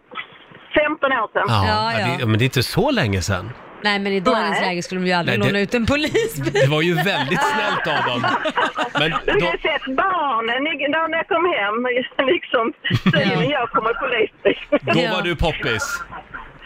S13: 15 år sedan.
S1: Ja, ja. Det, men det är inte så länge sedan.
S2: Nej, men i dagens läge skulle de ju aldrig
S1: Nej, det-
S2: låna ut en polisbil.
S1: Det var ju väldigt snällt av dem. Men
S13: Du har
S1: de,
S13: ju sett barnen i- när när jag kom hem, liksom. Säger ja. jag kommer polisbil.
S1: då var du poppis.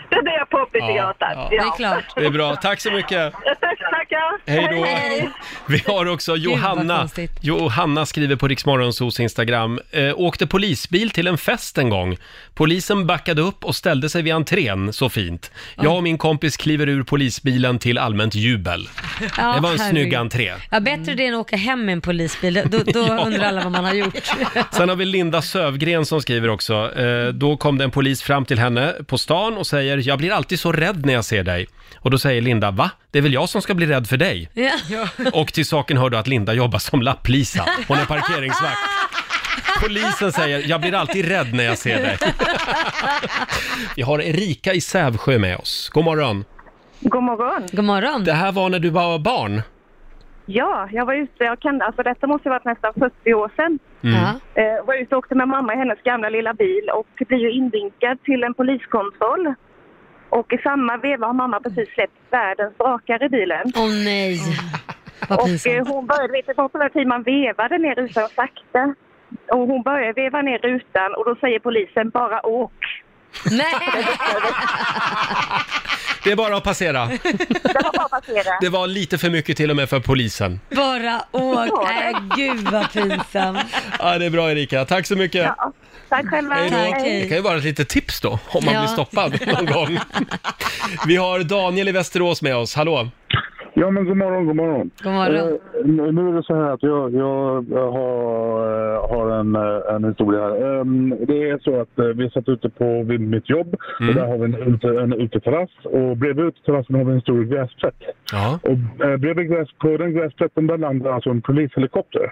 S13: Då blir jag poppis i
S1: Ja,
S13: gatan.
S1: ja. Det är
S2: klart.
S1: Det är bra. Tack så mycket.
S13: Tackar.
S1: Hej då.
S13: Hej.
S1: Vi har också
S13: vad
S1: Johanna.
S13: konstigt.
S1: Johanna skriver på Riksmorgonsos Instagram. Eh, åkte polisbil till en fest en gång. Polisen backade upp och ställde sig vid entrén, så fint. Jag och min kompis kliver ur polisbilen till allmänt jubel.
S2: Ja,
S1: det var en
S2: herregud.
S1: snygg entré.
S2: Ja, bättre det än att åka hem med en polisbil. Då, då
S1: Ja.
S2: undrar alla vad man har gjort.
S1: Sen har vi Linda Sövgren som skriver också. Eh, då kom det en polis fram till henne på stan och säger “Jag blir alltid så rädd när jag ser dig”. Och då säger Linda “Va? Det är väl jag som ska bli rädd för dig?”
S2: Ja.
S1: Och till saken hör du att Linda jobbar som lapplisa. Hon är parkeringsvakt. Polisen säger “Jag blir alltid rädd när jag ser dig”. Vi har Erika i Sävsjö med oss. God morgon.
S16: God morgon.
S2: God morgon.
S1: Det här var när du var barn.
S16: Ja, jag var ute, jag kan, alltså detta måste ju varit nästan 40 år sedan.
S1: Mm.
S16: Eh, var ute och åkte med mamma i hennes gamla lilla bil och blir ju invinkad till en poliskontroll. Och i samma veva har mamma precis släppt världens drakar i bilen.
S2: Åh nej!
S1: Mm.
S16: Och eh, hon började, vet du, på den här tiden man vevade ner rutan sakta. Och hon började veva ner rutan och då säger polisen bara åk.
S2: Nej!
S1: Det är bara att passera.
S16: Det var bara att passera.
S1: Det var lite för mycket till och med för polisen.
S2: Bara åk. Nej, gud vad pinsamt.
S1: Ja, det är bra Erika. Tack så mycket.
S16: Tack själva.
S1: Hej då. Det kan ju vara ett litet tips då, om man
S16: Ja.
S1: blir stoppad någon gång. Vi har Daniel i Västerås med oss. Hallå!
S19: Ja, men god morgon, god morgon.
S2: God morgon.
S19: Eh, nu- nu är det så här att jag, jag har, eh, har en, eh, en historia här. Ehm, det är så att eh, vi satt ute på vid mitt jobb och där har vi en, ute, en uteterrass och bredvid uteterrassen har vi en stor gräsplätt. Och eh, bredvid gräs, på den gräsplätten där landar alltså en polishelikopter.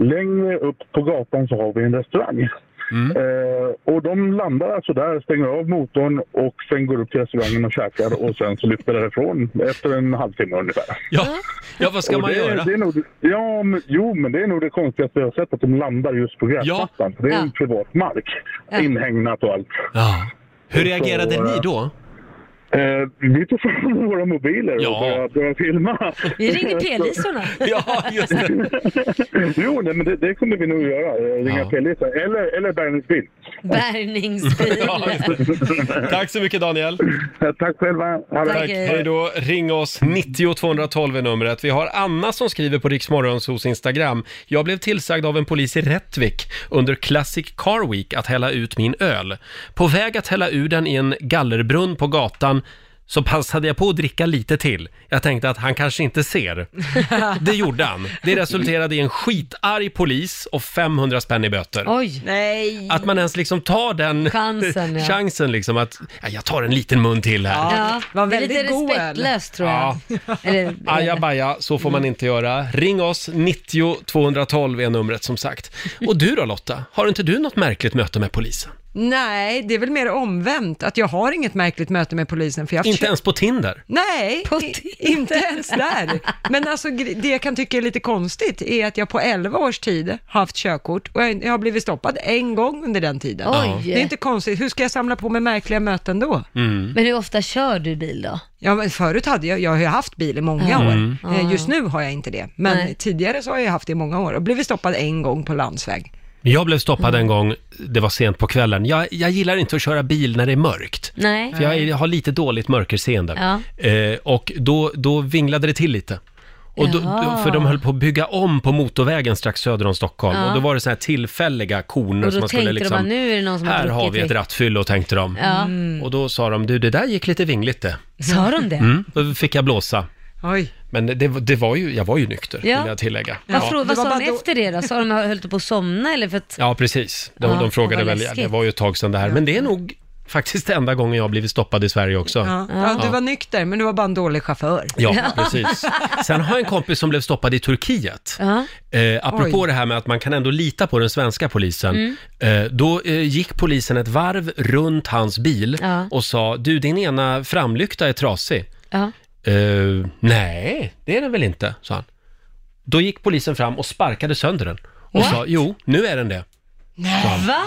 S19: Längre upp på gatan så har vi en restaurang. Eh, och de landar alltså där, stänger av motorn och sen går upp till restaurangen och käkar och sen så lyfter därifrån efter en halvtimme ungefär.
S1: Ja, ja vad ska
S19: Och
S1: man
S19: det, är-
S1: göra?
S19: Det är nog, ja, men, jo, men det är nog det konstigaste jag har sett, att de landar just på gräsmattan. Det är en privat mark, inhägnat och allt.
S1: Hur reagerade
S19: Så,
S1: ni
S19: eh,
S1: då?
S19: Eh, vi tog fram våra mobiler och började, började filma.
S2: Vi ringer p-lisorna.
S1: ja, just
S19: jo, nej, men det, det kunde vi nog göra. eh, Ringa P-listan. Eller, eller Bergnäs bil.
S2: Bärgningsbil.
S1: Tack så mycket Daniel!
S19: Tack själva!
S2: det
S1: Tack,
S2: bra.
S1: hej då! Ring oss, 90 212 är numret. Vi har Anna som skriver på Riksmorgons hos Instagram. Jag blev tillsagd av en polis i Rättvik under Classic Car Week att hälla ut min öl. På väg att hälla ur den i en gallerbrunn på gatan så passade jag på att dricka lite till. Jag tänkte att han kanske inte ser. Det gjorde han. Det resulterade i en skitarg polis och 500 spänn i böter.
S2: Oj! Nej!
S1: Att man ens liksom tar den
S2: Chansen, ja.
S1: chansen liksom att ja, jag tar en liten mun till här.
S2: Ja,
S3: var
S2: det är
S3: väldigt
S2: lite
S3: god öl.
S2: respektlöst tror jag. Eller,
S1: Ajabaja, så får man inte göra. Ring oss, 90 212 är numret som sagt. Och du då Lotta, har inte du något märkligt möte med polisen?
S3: Nej, det är väl mer omvänt, att jag har inget märkligt möte med polisen. För jag
S1: Inte ens på Tinder?
S3: Nej, i- inte ens där. Men alltså, gre- det jag kan tycka är lite konstigt är att jag på 11 års tid har haft körkort och jag jag har blivit stoppad en gång under den tiden.
S2: Oj.
S3: Det är inte konstigt, hur ska jag samla på mig märkliga möten då?
S2: Men hur ofta kör du bil då?
S3: Ja, men förut hade jag, jag har ju haft bil i många
S2: Ja.
S3: år.
S2: Mm.
S3: Eh, Just nu har jag inte det, men
S2: Nej.
S3: tidigare så har jag haft det i många år och blivit stoppad en gång på landsväg.
S1: Jag blev stoppad en gång, det var sent på kvällen. Jag, jag gillar inte att köra bil när det är mörkt.
S2: Nej.
S1: För jag, är- jag har lite dåligt mörkerseende.
S2: Ja.
S1: Eh, och då, då vinglade det till lite. Och då,
S2: Jaha.
S1: då- för de höll på att bygga om på motorvägen strax söder om Stockholm.
S2: Ja.
S1: Och då var det så här tillfälliga koner
S2: Och
S1: som
S2: då
S1: man skulle
S2: tänkte de bara,
S1: liksom...
S2: nu är det någon som
S1: Här har
S2: druckit
S1: vi ett
S2: mycket."
S1: rattfyllo, tänkte de.
S2: Ja.
S3: Mm.
S1: Och då sa de, du det där gick lite vingligt det.
S2: Sa de det?
S1: Mm, då fick jag blåsa.
S3: Oj.
S1: Men det, det var ju, jag var ju nykter,
S2: Ja.
S1: vill jag tillägga.
S2: Vad, frå- vad
S3: Det var
S2: sa
S3: bara
S2: de
S3: då-
S2: efter det då? Sa de att de höll typ på att somna eller för att...
S1: Ja, precis. De,
S2: Ja,
S1: de frågade
S2: vad
S1: väl,
S2: läskigt.
S1: det var ju ett tag sedan det här. Men det är nog faktiskt enda gången jag har blivit stoppad i Sverige också.
S3: Ja. Ja, du var nykter, men du var bara en dålig chaufför.
S1: Ja, precis. Sen har jag en kompis som blev stoppad i Turkiet.
S2: Ja.
S1: Eh, apropå
S3: Oj.
S1: det här med att man kan ändå lita på den svenska
S2: Mm.
S8: Mm.
S1: polisen. Eh, då eh, gick polisen ett varv runt hans bil
S2: Ja.
S1: och sa, du din ena framlykta är trasig.
S2: Ja.
S1: Eh, nej, det är den väl inte, sa han. Då gick polisen fram och sparkade sönder den. Och sa, jo, nu är den det.
S2: Va?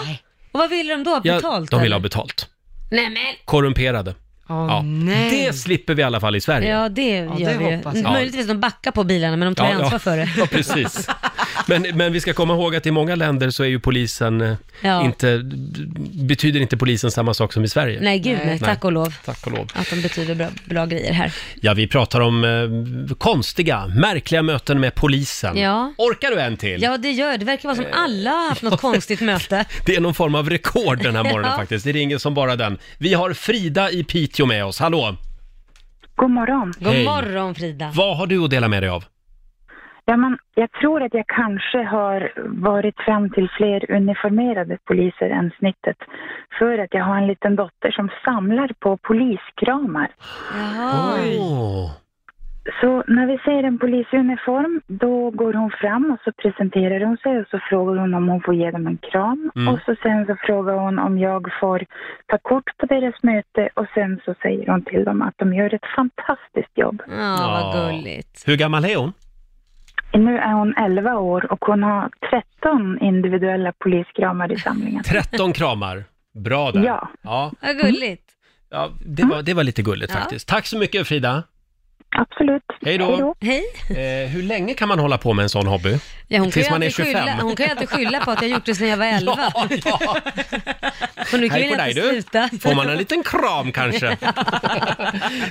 S2: Och vad ville de då? Ha
S1: Ja,
S2: betalt?
S1: de vill ha
S2: eller?
S1: betalt.
S2: Nej men!
S1: Korrumperade.
S2: Åh,
S1: ja.
S2: nej.
S1: Det slipper vi i alla fall i Sverige.
S2: Ja, det gör
S1: det hoppas
S2: vi ju.
S1: jag.
S2: Möjligtvis de backar på bilarna, men de tar ju ansvar
S1: ja.
S2: för det.
S1: Ja, precis. Men, men vi ska komma ihåg att i många länder så är ju polisen eh,
S2: Ja.
S1: inte, betyder inte polisen samma sak som i Sverige.
S2: Nej, gud nej. Tack och lov
S1: Tack och lov.
S2: att de betyder bra, bra grejer här.
S1: Ja, vi pratar om eh, konstiga, märkliga möten med polisen.
S2: Ja.
S1: Orkar du en till?
S2: Ja, det gör det. verkar vara
S1: Eh.
S2: som alla har haft något konstigt möte.
S1: Det är någon form av rekord den här morgonen
S2: Ja.
S1: faktiskt. Det ringer som bara den. Vi har Frida i Piteå med oss. Hallå!
S20: God morgon.
S1: God Hej. morgon,
S2: Frida.
S1: Vad har du att dela med dig av?
S20: Ja, men jag tror att jag kanske har varit fram till fler uniformerade poliser än snittet. För att jag har en liten dotter som samlar på poliskramar.
S1: Åh.
S20: Så när vi ser en polis i uniform, då går hon fram och så presenterar hon sig och så frågar hon om hon får ge dem en kram.
S21: Mm.
S20: Och så sen så frågar hon om jag får ta kort på deras möte och sen så säger hon till dem att de gör ett fantastiskt jobb.
S2: Ja, vad gulligt.
S1: Hur gammal är hon?
S20: Nu är hon 11 år och hon har 13 individuella poliskramar i samlingen.
S1: 13 kramar. Bra där.
S20: Ja.
S1: ja. Mm.
S2: Vad gulligt.
S1: Ja, det var, det var lite gulligt
S2: Ja.
S1: faktiskt. Tack så mycket Frida.
S20: Absolut.
S1: Hej då.
S2: Hej.
S1: Eh, hur länge kan man hålla på med en sån hobby?
S2: Ja, hon, kan
S1: Tills
S2: ju
S1: man är
S2: alltid
S1: 25?
S2: skylla, hon kan ju alltid skylla på att jag gjort det sedan jag var 11. Ja, Så nu kan
S1: Hej
S2: vi nästan
S1: på dig du.
S2: sluta.
S1: Får man en liten kram kanske?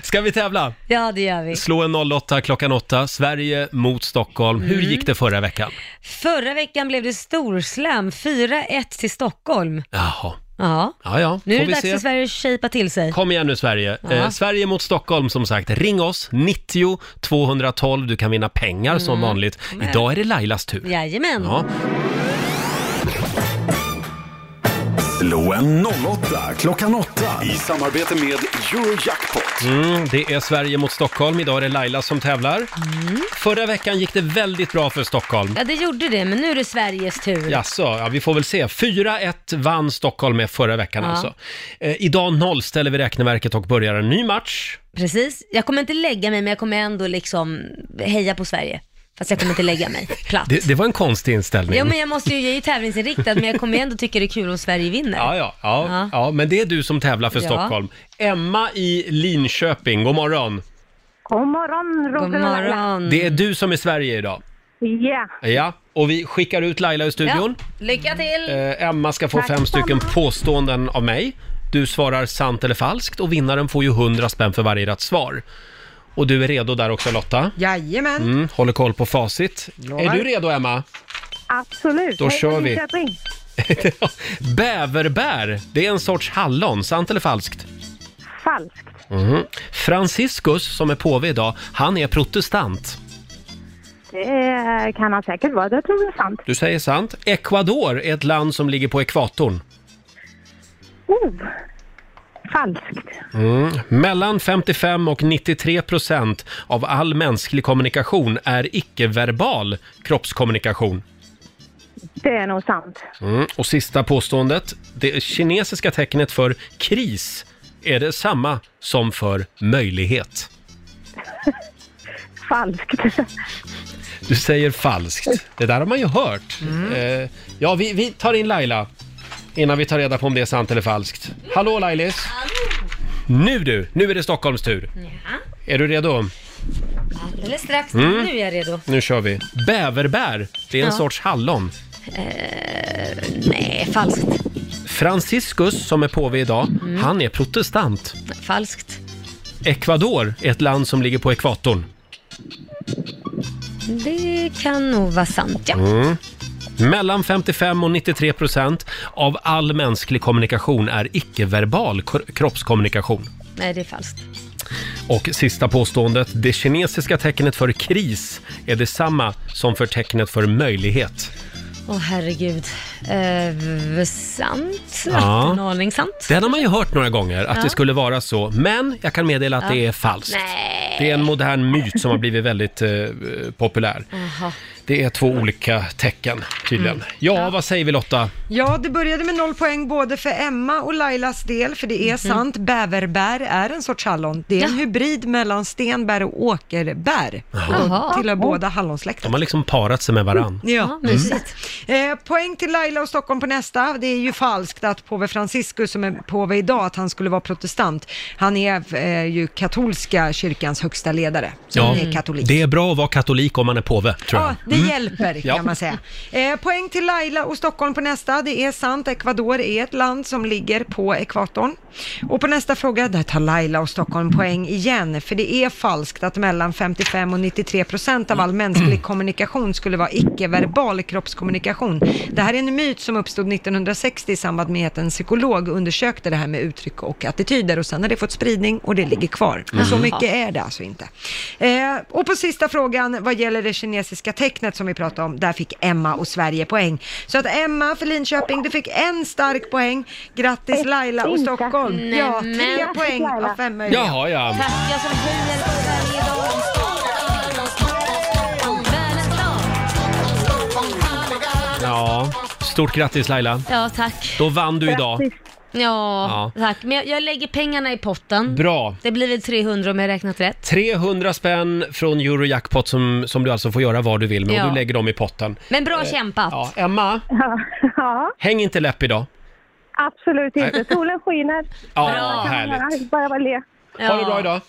S1: Ska vi tävla?
S2: Ja, det gör vi.
S1: Slå en 08 klockan 8, Sverige mot Stockholm. Hur
S2: Mm.
S1: gick det förra veckan?
S2: Förra veckan blev det storslam, 4-1 till Stockholm.
S1: Jaha,
S2: Ja.
S1: ja ja.
S2: Nu är det
S1: Får vi
S2: dags
S1: se.
S2: för Sverige att shapea till sig.
S1: Kom igen nu Sverige. Eh, Sverige mot Stockholm som sagt. Ring oss, 90 212. Du kan vinna pengar som
S2: Mm.
S1: vanligt.
S2: Kom igen.
S1: Idag är det Lailas tur.
S2: Jajamän.
S1: Ja.
S5: Slå en 08 klockan 8 i samarbete med Eurojackpot.
S1: Mm, det är Sverige mot Stockholm. Idag är det Laila som tävlar.
S2: Mm.
S1: Förra veckan gick det väldigt bra för Stockholm.
S2: Ja, det gjorde det, men nu är det Sveriges tur.
S1: Jaså, ja, vi får väl se. 4-1 vann Stockholm med förra veckan
S2: Ja.
S1: alltså. Eh, idag nollställer vi räkneverket och börjar en ny match.
S2: Precis. Jag kommer inte lägga mig, men jag kommer ändå liksom heja på Sverige. Fast jag kommer inte lägga mig. Platt.
S1: Det, det var en konstig inställning.
S2: Ja, men jag måste ju, jag är ju tävlingsinriktad, men jag kommer ju ändå tycka det är kul om Sverige vinner.
S1: ja, ja, ja,
S2: Ja.
S1: ja. men det är du som tävlar för
S2: Ja.
S1: Stockholm. Emma i Linköping, god morgon.
S22: God morgon, Roger
S2: God morgon.
S1: Det är du som är Sverige idag.
S22: Ja.
S1: Ja, och vi skickar ut Laila ur studion.
S2: Ja, lycka till!
S1: Eh, Emma ska få
S2: Tack
S1: fem stycken
S2: detsamma.
S1: påståenden av mig. Du svarar sant eller falskt och vinnaren får ju 100 spänn för varje rätt svar. Och du är redo där också Lotta?
S3: Jajamän.
S1: Mm, håller koll på facit. Är du redo Emma?
S22: Absolut.
S1: Då
S22: Hej,
S1: kör vi.
S22: Linköping.
S1: Bäverbär, det är en sorts hallon, sant eller falskt?
S22: Falskt.
S1: Mhm. Franciscus, som är påve idag, han är protestant.
S22: Det kan han säkert vara. Det tror jag är sant.
S1: Du säger sant. Ecuador är ett land som ligger på ekvatorn.
S22: Oh. Falskt.
S1: Mm. Mellan 55 och 93 procent av all mänsklig kommunikation är icke-verbal kroppskommunikation.
S22: Det är nog sant.
S1: Mm. Och sista påståendet. Det kinesiska tecknet för kris är det samma som för möjlighet.
S22: Falskt.
S1: Du säger falskt. Det där har man ju hört. Eh, ja, vi, vi tar in Laila innan vi tar reda på om det är sant eller falskt. Hallå Lailis! Nu du! Nu är det Stockholms tur. Är du redo?
S2: Alldeles strax.
S1: Mm.
S2: Nu är jag redo.
S1: Nu kör vi. Bäverbär, det är en
S2: Ja.
S1: sorts hallon.
S2: Eh, nej, falskt.
S1: Franciscus, som är påve idag,
S2: Mm.
S1: han är protestant.
S2: Falskt.
S1: Ecuador är ett land som ligger på ekvatorn.
S2: Det kan nog vara sant, ja.
S1: Mm. Mellan 55 och 93 procent av all mänsklig kommunikation är icke-verbal kor- kroppskommunikation.
S2: Nej, det är falskt.
S1: Och sista påståendet, det kinesiska tecknet för kris är detsamma som för tecknet för möjlighet.
S2: Åh, herregud. Eh, sant?
S1: Ja.
S2: En aning sant.
S1: Den har man ju hört några gånger, att
S2: Ja.
S1: det skulle vara så. Men jag kan meddela att
S2: Ja.
S1: det är falskt.
S2: Nej.
S1: Det är en modern myt som har blivit väldigt eh, populär.
S2: Jaha.
S1: Det är två olika tecken tydligen. Ja, vad säger vi Lotta?
S3: Ja, det började med noll poäng både för Emma och Lailas del, för det är sant, bäverbär är en sorts hallon. Det är en hybrid mellan stenbär och åkerbär.
S1: Jaha.
S3: Och tillhör
S1: Jaha.
S3: båda hallonsläkten.
S1: De har liksom parat sig med varann.
S3: Ja, Eh, poäng till Laila och Stockholm på nästa. Det är ju falskt att påve Franciscus, som är påve idag, att han skulle vara protestant. Han är eh, ju katolska kyrkans högsta ledare, så han är katolik.
S1: det är bra att vara katolik om man är påve, tror jag.
S3: Ja, det
S1: Mm.
S3: hjälper kan
S1: Ja.
S3: man säga. Eh, poäng till Laila och Stockholm på nästa. Det är sant, Ecuador är ett land som ligger på ekvatorn. Och på nästa fråga, där tar Laila och Stockholm poäng igen, för det är falskt att mellan 55 och 93 procent av
S1: Mm.
S3: all mänsklig kommunikation skulle vara icke-verbal kroppskommunikation. Det här är en myt som uppstod 1960 i samband med att en psykolog undersökte det här med uttryck och attityder och sen har det fått spridning och det ligger kvar.
S1: Mm.
S3: Men så
S4: Mhm.
S3: mycket är det alltså inte. Eh, och på sista frågan, vad gäller det kinesiska tecknet som vi pratade om, där fick Emma och Sverige poäng. Så att Emma för Linköping, du fick en stark poäng. Grattis Laila och Stockholm. Ja, tre
S2: Nämen.
S3: poäng av fem möjliga.
S1: Jaha, ja.
S2: Jag som hejar på varje dag.
S1: ja. Stort grattis Laila.
S2: Ja, tack.
S1: Då vann du idag.
S2: Ja,
S1: Ja.
S2: tack. Men jag, jag lägger pengarna i potten.
S1: Bra.
S2: Det blir väl 300 om jag räknat rätt.
S1: 300 spänn från Eurojackpot som, som du alltså får göra vad du vill med och
S2: Ja.
S1: du lägger dem i potten.
S2: Men bra
S1: Eh,
S2: kämpat. Ja,
S1: Emma.
S22: Ja,
S1: Häng inte läpp idag.
S22: absolut inte. Solen skiner.
S1: Ja,
S22: Vad kan man
S1: härligt.
S22: göra? Bara vara le.
S1: Ha det bra idag.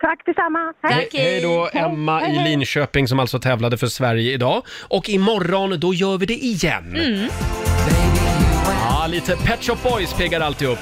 S22: Tack detsamma.
S1: He- Hej då Emma i Linköping som alltså tävlade för Sverige idag. Och imorgon då gör vi det igen.
S2: Mm.
S1: Ja, lite Pet Shop Boys piggar alltid upp.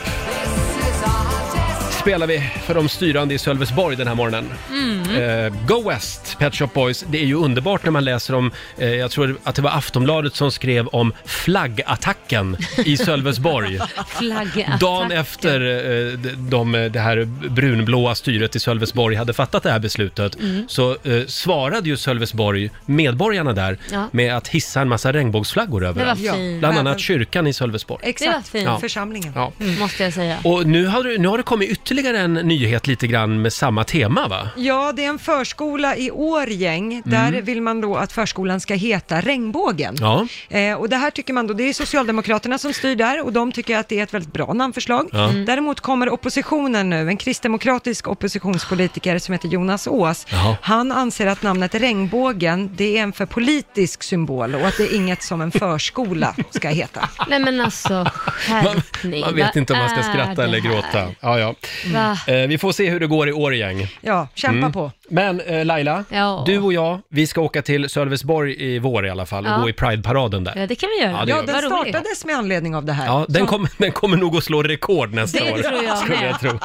S1: Spelar vi för de styrande i Sölvesborg den här morgonen.
S4: Mm.
S1: Eh, Go West, Pet Shop Boys. Det är ju underbart när man läser om, eh, jag tror att det var Aftonbladet som skrev om flaggattacken i Sölvesborg.
S2: Flagga.
S1: Dagen
S2: Tack.
S1: efter eh, de, de, det här brunblåa styret i Sölvesborg hade fattat det här beslutet
S2: Mm.
S1: så eh, svarade ju Sölvesborg, medborgarna där,
S3: Ja.
S1: med att hissa en massa regnbågsflaggor överallt.
S3: var fint.
S1: Bland
S3: Ja.
S1: annat kyrkan i Sölvesborg.
S3: Exakt,
S2: Det var fint.
S1: Ja.
S3: församlingen.
S1: Ja.
S2: Mm. Måste jag säga.
S1: Och nu har, du- nu har det kommit ytterligare en nyhet lite grann med samma tema va?
S3: Ja, det är en förskola i Årgäng. Där
S1: Mm.
S3: vill man då att förskolan ska heta Regnbågen.
S1: Ja.
S3: Eh, och det här tycker man då, det är Socialdemokraterna som styr där och de tycker att det är ett väldigt bra namnförslag.
S4: Ja. Mm.
S3: Däremot kommer oppositionen nu, en kristdemokratisk oppositionspolitiker som heter Jonas Ås.
S4: Jaha.
S3: Han anser att namnet Regnbågen, det är en för politisk symbol och att det är inget som en förskola ska heta.
S2: Nej men alltså, skärpning.
S1: Man vet
S2: Vad
S1: inte om man ska
S2: är det
S1: skratta eller
S2: här?
S1: gråta. Ja, ja.
S2: Va?
S1: Eh, vi får se hur det går i Årjäng.
S3: Ja, kämpa
S1: Mm.
S3: på.
S1: Men eh, Laila,
S2: Ja.
S1: du och jag, vi ska åka till Sölvesborg i vår i alla fall och
S3: Ja.
S1: gå i Pride-paraden där.
S2: Ja, det kan vi göra.
S1: Ja, det
S3: Ja,
S1: gör vi.
S3: den startades med anledning av det här.
S1: Ja, den,
S3: Så-
S1: kommer- den kommer nog att slå rekord nästa
S3: Det
S1: år.
S3: tror jag
S1: skulle
S3: med.
S1: jag tro.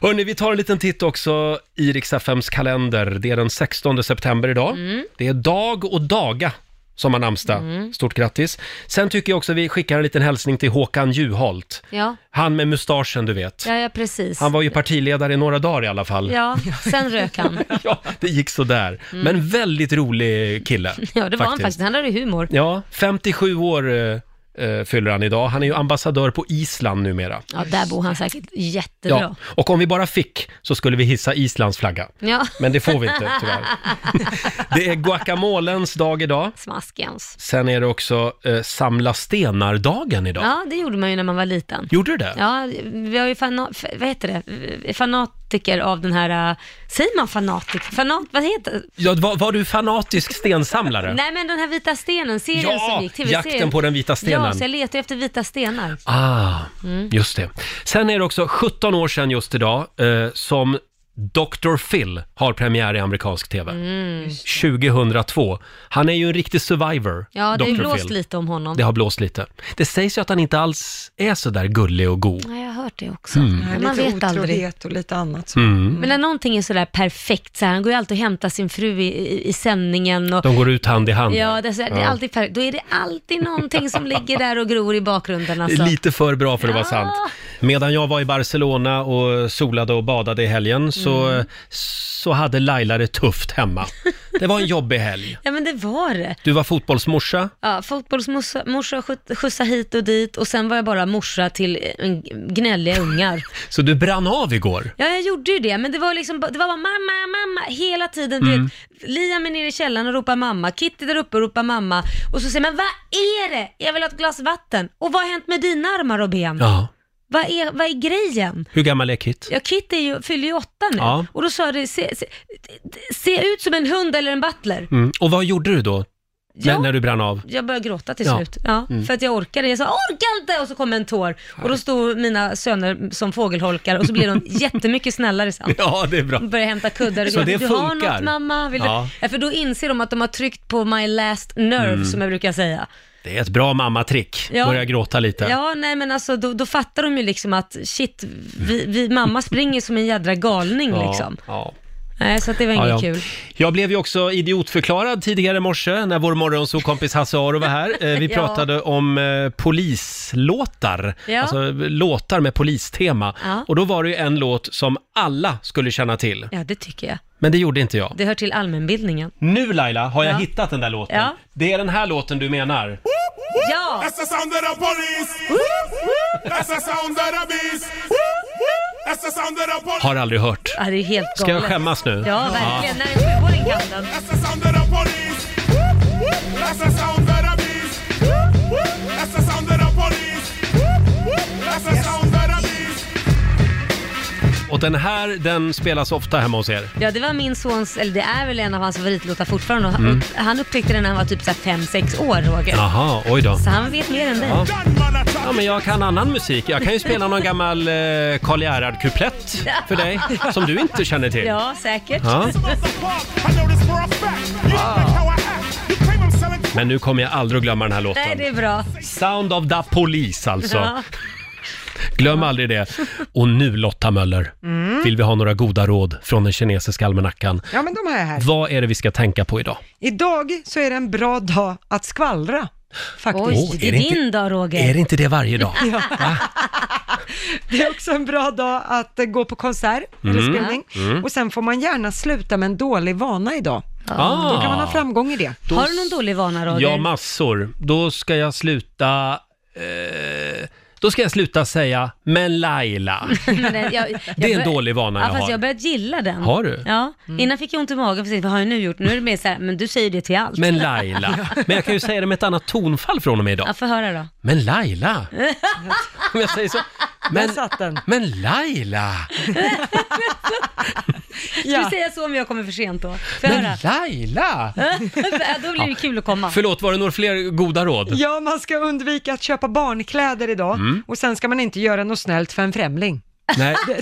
S1: Hörni, vi tar en liten titt också i Riksaffems kalender. Det är den 16 september idag.
S4: Mm.
S1: Det är Dag och Daga som har namnsdag.
S4: Mm.
S1: Stort grattis. Sen tycker jag också vi skickar en liten hälsning till Håkan Juholt.
S2: Ja.
S1: Han med mustaschen, du vet.
S2: ja, ja precis.
S1: Han var ju partiledare i några dagar i alla fall.
S2: Ja, sen rök han.
S1: Det gick så där.
S2: Mm.
S1: Men väldigt rolig kille.
S2: Ja, det var han faktiskt. Han hade ju humor.
S1: Ja, 57 år eh, eh, fyller han idag. Han är ju ambassadör på Island numera.
S2: Ja, där bor han säkert jättebra.
S1: Och om vi bara fick så skulle vi hissa Islands flagga.
S2: Ja.
S1: Men det får vi inte, tyvärr. Det är guacamolens dag idag.
S2: Smaskens.
S1: Sen är det också eh, samla stenar-dagen idag.
S2: Ja, det gjorde man ju när man var liten.
S1: Gjorde du det?
S2: Ja, vi har ju fana, f- vad heter det? Vi är fanatiker av den här, äh, säger man fanatik? Fanat, vad heter
S1: Ja, var, var du fanatisk stensamlare?
S2: Nej men den här vita stenen, serien
S1: Ja,
S2: som gick, TV-serien.
S1: Jakten på den vita stenen.
S2: Ja, så jag letar ju efter vita stenar.
S1: Ah,
S2: Mm.
S1: just det. Sen är det också 17 år sedan just idag eh, som Dr. Phil har premiär i amerikansk TV.
S2: Mm.
S1: 2002. Han är ju en riktig survivor,
S2: Ja, det har
S1: Dr.
S2: ju blåst
S1: Phil.
S2: lite om honom.
S1: Det har blåst lite. Det sägs ju att han inte alls är så där gullig och god.
S2: Nej, jag har hört det också.
S1: Mm.
S2: Men
S1: Nej,
S2: man
S3: lite
S2: vet aldrig.
S3: otrohet och lite annat. så.
S1: Mm.
S2: Men när någonting är sådär perfekt, så här, han går ju alltid och hämtar sin fru i, i, i sändningen och
S1: De går ut hand i hand.
S2: Ja, det är, så, det är alltid perfekt. Då är det alltid någonting som ligger där och gror i bakgrunden.
S1: Det är
S2: Alltså.
S1: Lite för bra för att vara sant. Medan jag var i Barcelona och solade och badade i helgen så,
S2: Mm.
S1: så hade Laila det tufft hemma. Det var en jobbig helg.
S2: Ja men det var det.
S1: Du var fotbollsmorsa.
S2: Ja, fotbollsmorsa morsa och skjut- skjutsa hit och dit och sen var jag bara morsa till en- gnälliga ungar.
S1: Så du brann av igår.
S2: Ja, jag gjorde ju det, men det var liksom det var bara mamma, mamma hela tiden. Du
S1: Mm.
S2: vet, Liam är nere i källaren och ropar mamma, Kitty där uppe och ropar mamma och så säger man vad är det? Jag vill ha ett glas vatten. Och vad har hänt med dina armar och ben?
S1: Ja.
S2: Vad, är, vad är grejen?
S1: Hur gammal är Kit?
S2: Ja, Kitty är ju, fyller ju åtta nu
S1: Ja.
S2: och då sa det se, se, se ut som en hund eller en butler.
S1: Mm. Och vad gjorde du då?
S2: Ja.
S1: När, när du brann av?
S2: Jag började gråta till
S1: Ja.
S2: slut. Ja,
S1: Mm.
S2: För att jag orkade. Jag sa orkar inte och så kom en tår. Och då stod mina söner som fågelholkar och så blev de jättemycket snällare sen.
S1: Ja, det är bra.
S2: De började hämta kuddar och
S1: Så
S2: grejer.
S1: det
S2: Du har
S1: funkar?
S2: något mamma? Vill
S1: Ja.
S2: du? Ja, för då inser de att de har tryckt på my last nerve
S1: Mm.
S2: som jag brukar säga.
S1: Det är ett bra mammatrick.
S2: Ja.
S1: Börja gråta lite.
S2: Ja, nej men alltså då, då fattar de ju liksom att shit, vi, vi, mamma springer som en jädra galning
S1: Ja,
S2: liksom.
S1: Ja.
S2: Nej, så att det var inget
S1: Ja, ja.
S2: kul.
S1: Jag blev ju också idiotförklarad tidigare i morse när vår morgonsåkompis Hasse Aro var här. Eh, Vi
S2: Ja.
S1: pratade om eh, polislåtar,
S2: Ja.
S1: alltså låtar med polistema.
S2: Ja.
S1: Och då var det ju en låt som alla skulle känna till,
S2: Ja, det tycker jag.
S1: men det gjorde inte jag.
S2: Det hör till allmänbildningen.
S1: Nu Laila har jag
S2: Ja.
S1: hittat den där låten.
S2: Ja.
S1: Det är den här låten du menar.
S2: Ja!
S4: That's the sound of the police! That's the sound of the beast! That's the sound of the police!
S1: Har aldrig hört.
S2: Ja, det är helt galet.
S1: Ska jag skämmas nu?
S2: Ja, verkligen. När en sjuåring kan den.
S4: That's the sound of the police! That's the sound of the beast! That's the sound of the police! That's the sound of the beast!
S1: Och den här, den spelas ofta hemma hos er.
S2: Ja, det var min sons, eller det är väl en av hans favoritlåtar fortfarande. Och han-
S1: Mm.
S2: upp- Han upptäckte den när han var typ 5-6 år, Roger.
S1: Jaha, oj då.
S2: Så han vet mer än dig.
S1: Ja. ja, men jag kan annan musik. Jag kan ju spela någon gammal eh, Karl Gerhard-kuplett för dig, som du inte känner till.
S2: Ja, säkert.
S1: Ja.
S4: I know this for a fact! You think how I act! You claim I'm selling...
S1: Men nu kommer jag aldrig att glömma den här låten.
S2: Nej, det är bra.
S1: Sound of the Police alltså.
S2: Ja.
S1: Glöm aldrig det. Och nu Lotta Möller,
S3: Mm.
S1: vill vi ha några goda råd från den kinesiska almanackan.
S3: Ja, men de har jag här.
S1: Vad är det vi ska tänka på idag?
S3: Idag så är det en bra dag att skvallra. Faktiskt.
S1: Oj, Åh, det är är det din inte-
S2: dag Roger.
S1: Är det inte det varje dag?
S3: Ja. Det är också en bra dag att eh, gå på konsert eller
S1: Mm.
S3: spelning.
S1: Mm.
S3: Och sen får man gärna sluta med en dålig vana idag.
S1: Ah.
S3: Då kan man ha framgång i det.
S1: Då- Har du
S2: någon dålig vana
S1: Ja, massor. Då ska jag sluta... Eh, då ska jag sluta säga “men Laila”.
S2: Men jag- jag
S1: Det är
S2: bör-
S1: en dålig vana
S2: ja,
S1: jag
S2: fast
S1: har.
S2: jag har börjat gilla den.
S1: Har du?
S2: Ja. Innan fick jag ont i magen, för att se, vad har jag nu gjort? Nu är det mer så här, men du säger det till allt.
S1: Men Laila. Men jag kan ju säga det med ett annat tonfall från och med
S2: Ja,
S1: idag.
S2: få höra då.
S1: Men Laila. Om jag säger så. Men,
S2: Där satt den.
S1: men Laila.
S2: Ska du säga så om jag kommer för sent då? Får jag
S1: Men
S2: höra?
S1: Laila.
S2: Ja, då blir det kul att komma.
S1: Förlåt, var det några fler goda råd?
S3: Ja, man ska undvika att köpa barnkläder idag
S1: Mm.
S3: och sen ska man inte göra något snällt för en främling.
S1: Nej,
S3: Ja,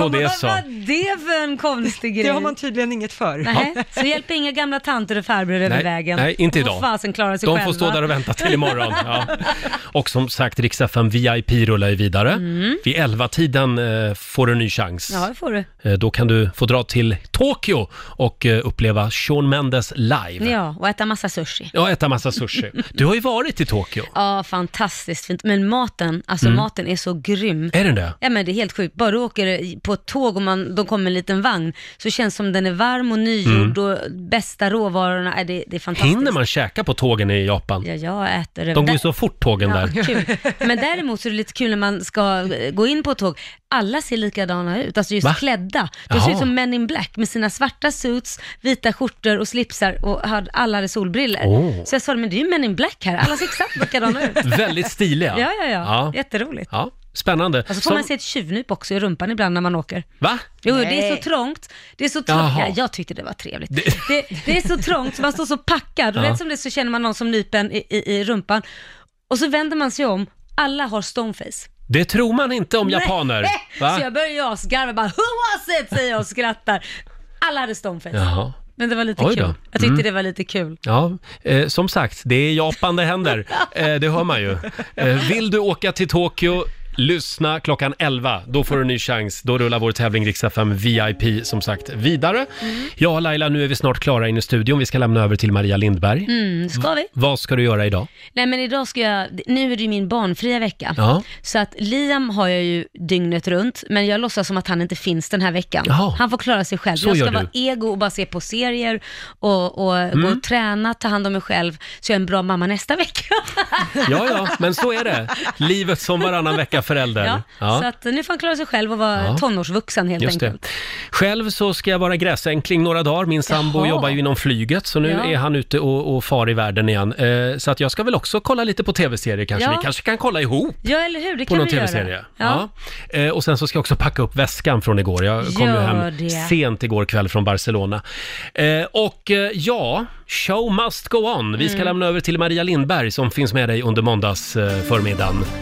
S1: så
S3: men
S1: det
S3: vad-
S1: så.
S2: Vad det för en konstig grej?
S3: Det har man tydligen inget för.
S2: Nej, så hjälp inga gamla tanter och farbröder över
S1: Nej,
S2: vägen.
S1: nej, inte
S2: De
S1: idag.
S2: får fasen klara sig
S1: De
S2: själva.
S1: får stå där och vänta till imorgon. Ja. Och som sagt, Rix FM VIP rullar ju vidare.
S2: Mm.
S1: Vid 11-tiden eh, får du en ny chans.
S2: Ja, det får du.
S1: Eh, Då kan du få dra till Tokyo och eh, uppleva Shawn Mendes live.
S2: Ja, och äta massa sushi.
S1: Ja, äta massa sushi. Du har ju varit i Tokyo.
S2: Ja, fantastiskt fint. Men maten, alltså
S1: Mm.
S2: maten är så grym.
S1: Är den det?
S2: Ja men det är helt sjukt. Bara du åker i- på ett tåg och man, de kommer en liten vagn så känns det som den är varm och nygjord
S1: Mm.
S2: och bästa råvarorna, är det, det är fantastiskt.
S1: Hinner man käka på tågen i Japan?
S2: Ja, jag äter det.
S1: De går
S2: Där-
S1: ju så fort tågen
S2: ja,
S1: där.
S2: Kul. Men däremot så är det lite kul när man ska eh, gå in på ett tåg. Alla ser likadana ut, alltså just
S1: Va?
S2: klädda. De
S1: Jaha.
S2: ser ut som Men in Black med sina svarta suits, vita skjortor och slipsar och hade, alla hade solbriller.
S1: Åh.
S2: Så jag sa, men det är ju Men in Black här, alla ser exakt likadana ut.
S1: Väldigt stiliga.
S2: Ja, ja, ja. Jätteroligt.
S1: Ja, spännande.
S2: Och så får
S1: Som-
S2: man se ett tjuvnyp också i rumpan ibland när man åker.
S1: Va?
S2: Jo, det är så trångt. Det är så trångt.
S1: Jaha.
S2: Ja, jag tyckte det var trevligt. Det, det, är så trångt, så man står så packad och
S1: Ja.
S2: rätt som det är så känner man någon som nyper en i, i, i rumpan. Och så vänder man sig om, alla har stoneface.
S1: Det tror man inte om japaner.
S2: Nej.
S1: Va?
S2: Så jag börjar ju asgarva bara, who was it? säger jag och skrattar. Alla hade stoneface.
S1: Jaha.
S2: Men det var lite
S1: Oj då.
S2: kul. Jag tyckte
S1: Mm.
S2: det var lite kul.
S1: Ja, eh, som sagt, det är i Japan det händer. Eh, det hör man ju. Eh, vill du åka till Tokyo Lyssna klockan 11, då får du en ny chans. Då rullar vår tävling Riksdag 5 VIP som sagt vidare.
S2: Mm.
S1: Ja, Laila, nu är vi snart klara in i studion. Vi ska lämna över till Maria Lindberg.
S2: Mm, ska vi?
S1: V- vad ska du göra idag?
S2: Nej men idag ska jag, nu är det ju min barnfria vecka.
S1: Ja.
S2: Så att Liam har jag ju dygnet runt, men jag låtsas som att han inte finns den här veckan.
S1: Jaha.
S2: Han får klara sig själv.
S1: Så
S2: jag
S1: gör
S2: ska
S1: du.
S2: vara ego och bara se på serier och, och gå
S1: Mm.
S2: och träna, ta hand om mig själv, så jag är en bra mamma nästa vecka.
S1: Ja, ja, men så är det. Livet som varannan vecka-förälder.
S2: Ja, Så att nu får han klara sig själv och vara
S1: Ja.
S2: tonårsvuxen helt
S1: Just det.
S2: enkelt.
S1: Själv så ska jag vara gräsänkling några dagar. Min sambo
S2: Jaha.
S1: jobbar ju inom flyget, så nu
S2: Ja.
S1: är han ute och, och far i världen igen. Eh, så att jag ska väl också kolla lite på tv-serier kanske.
S2: Ja.
S1: Vi kanske kan kolla ihop.
S2: Ja, eller hur? Det
S1: på
S2: kan
S1: någon
S2: vi göra.
S1: tv-serie.
S2: Ja.
S1: Ja. Eh, och sen så ska jag också packa upp väskan från igår. Jag kom ju
S2: Gör
S1: hem
S2: det.
S1: sent igår kväll från Barcelona. Eh, och eh, ja, show must go on. Vi ska
S2: Mm.
S1: lämna över till Maria Lindberg som finns med dig under måndagsförmiddagen. Eh, förmiddagen.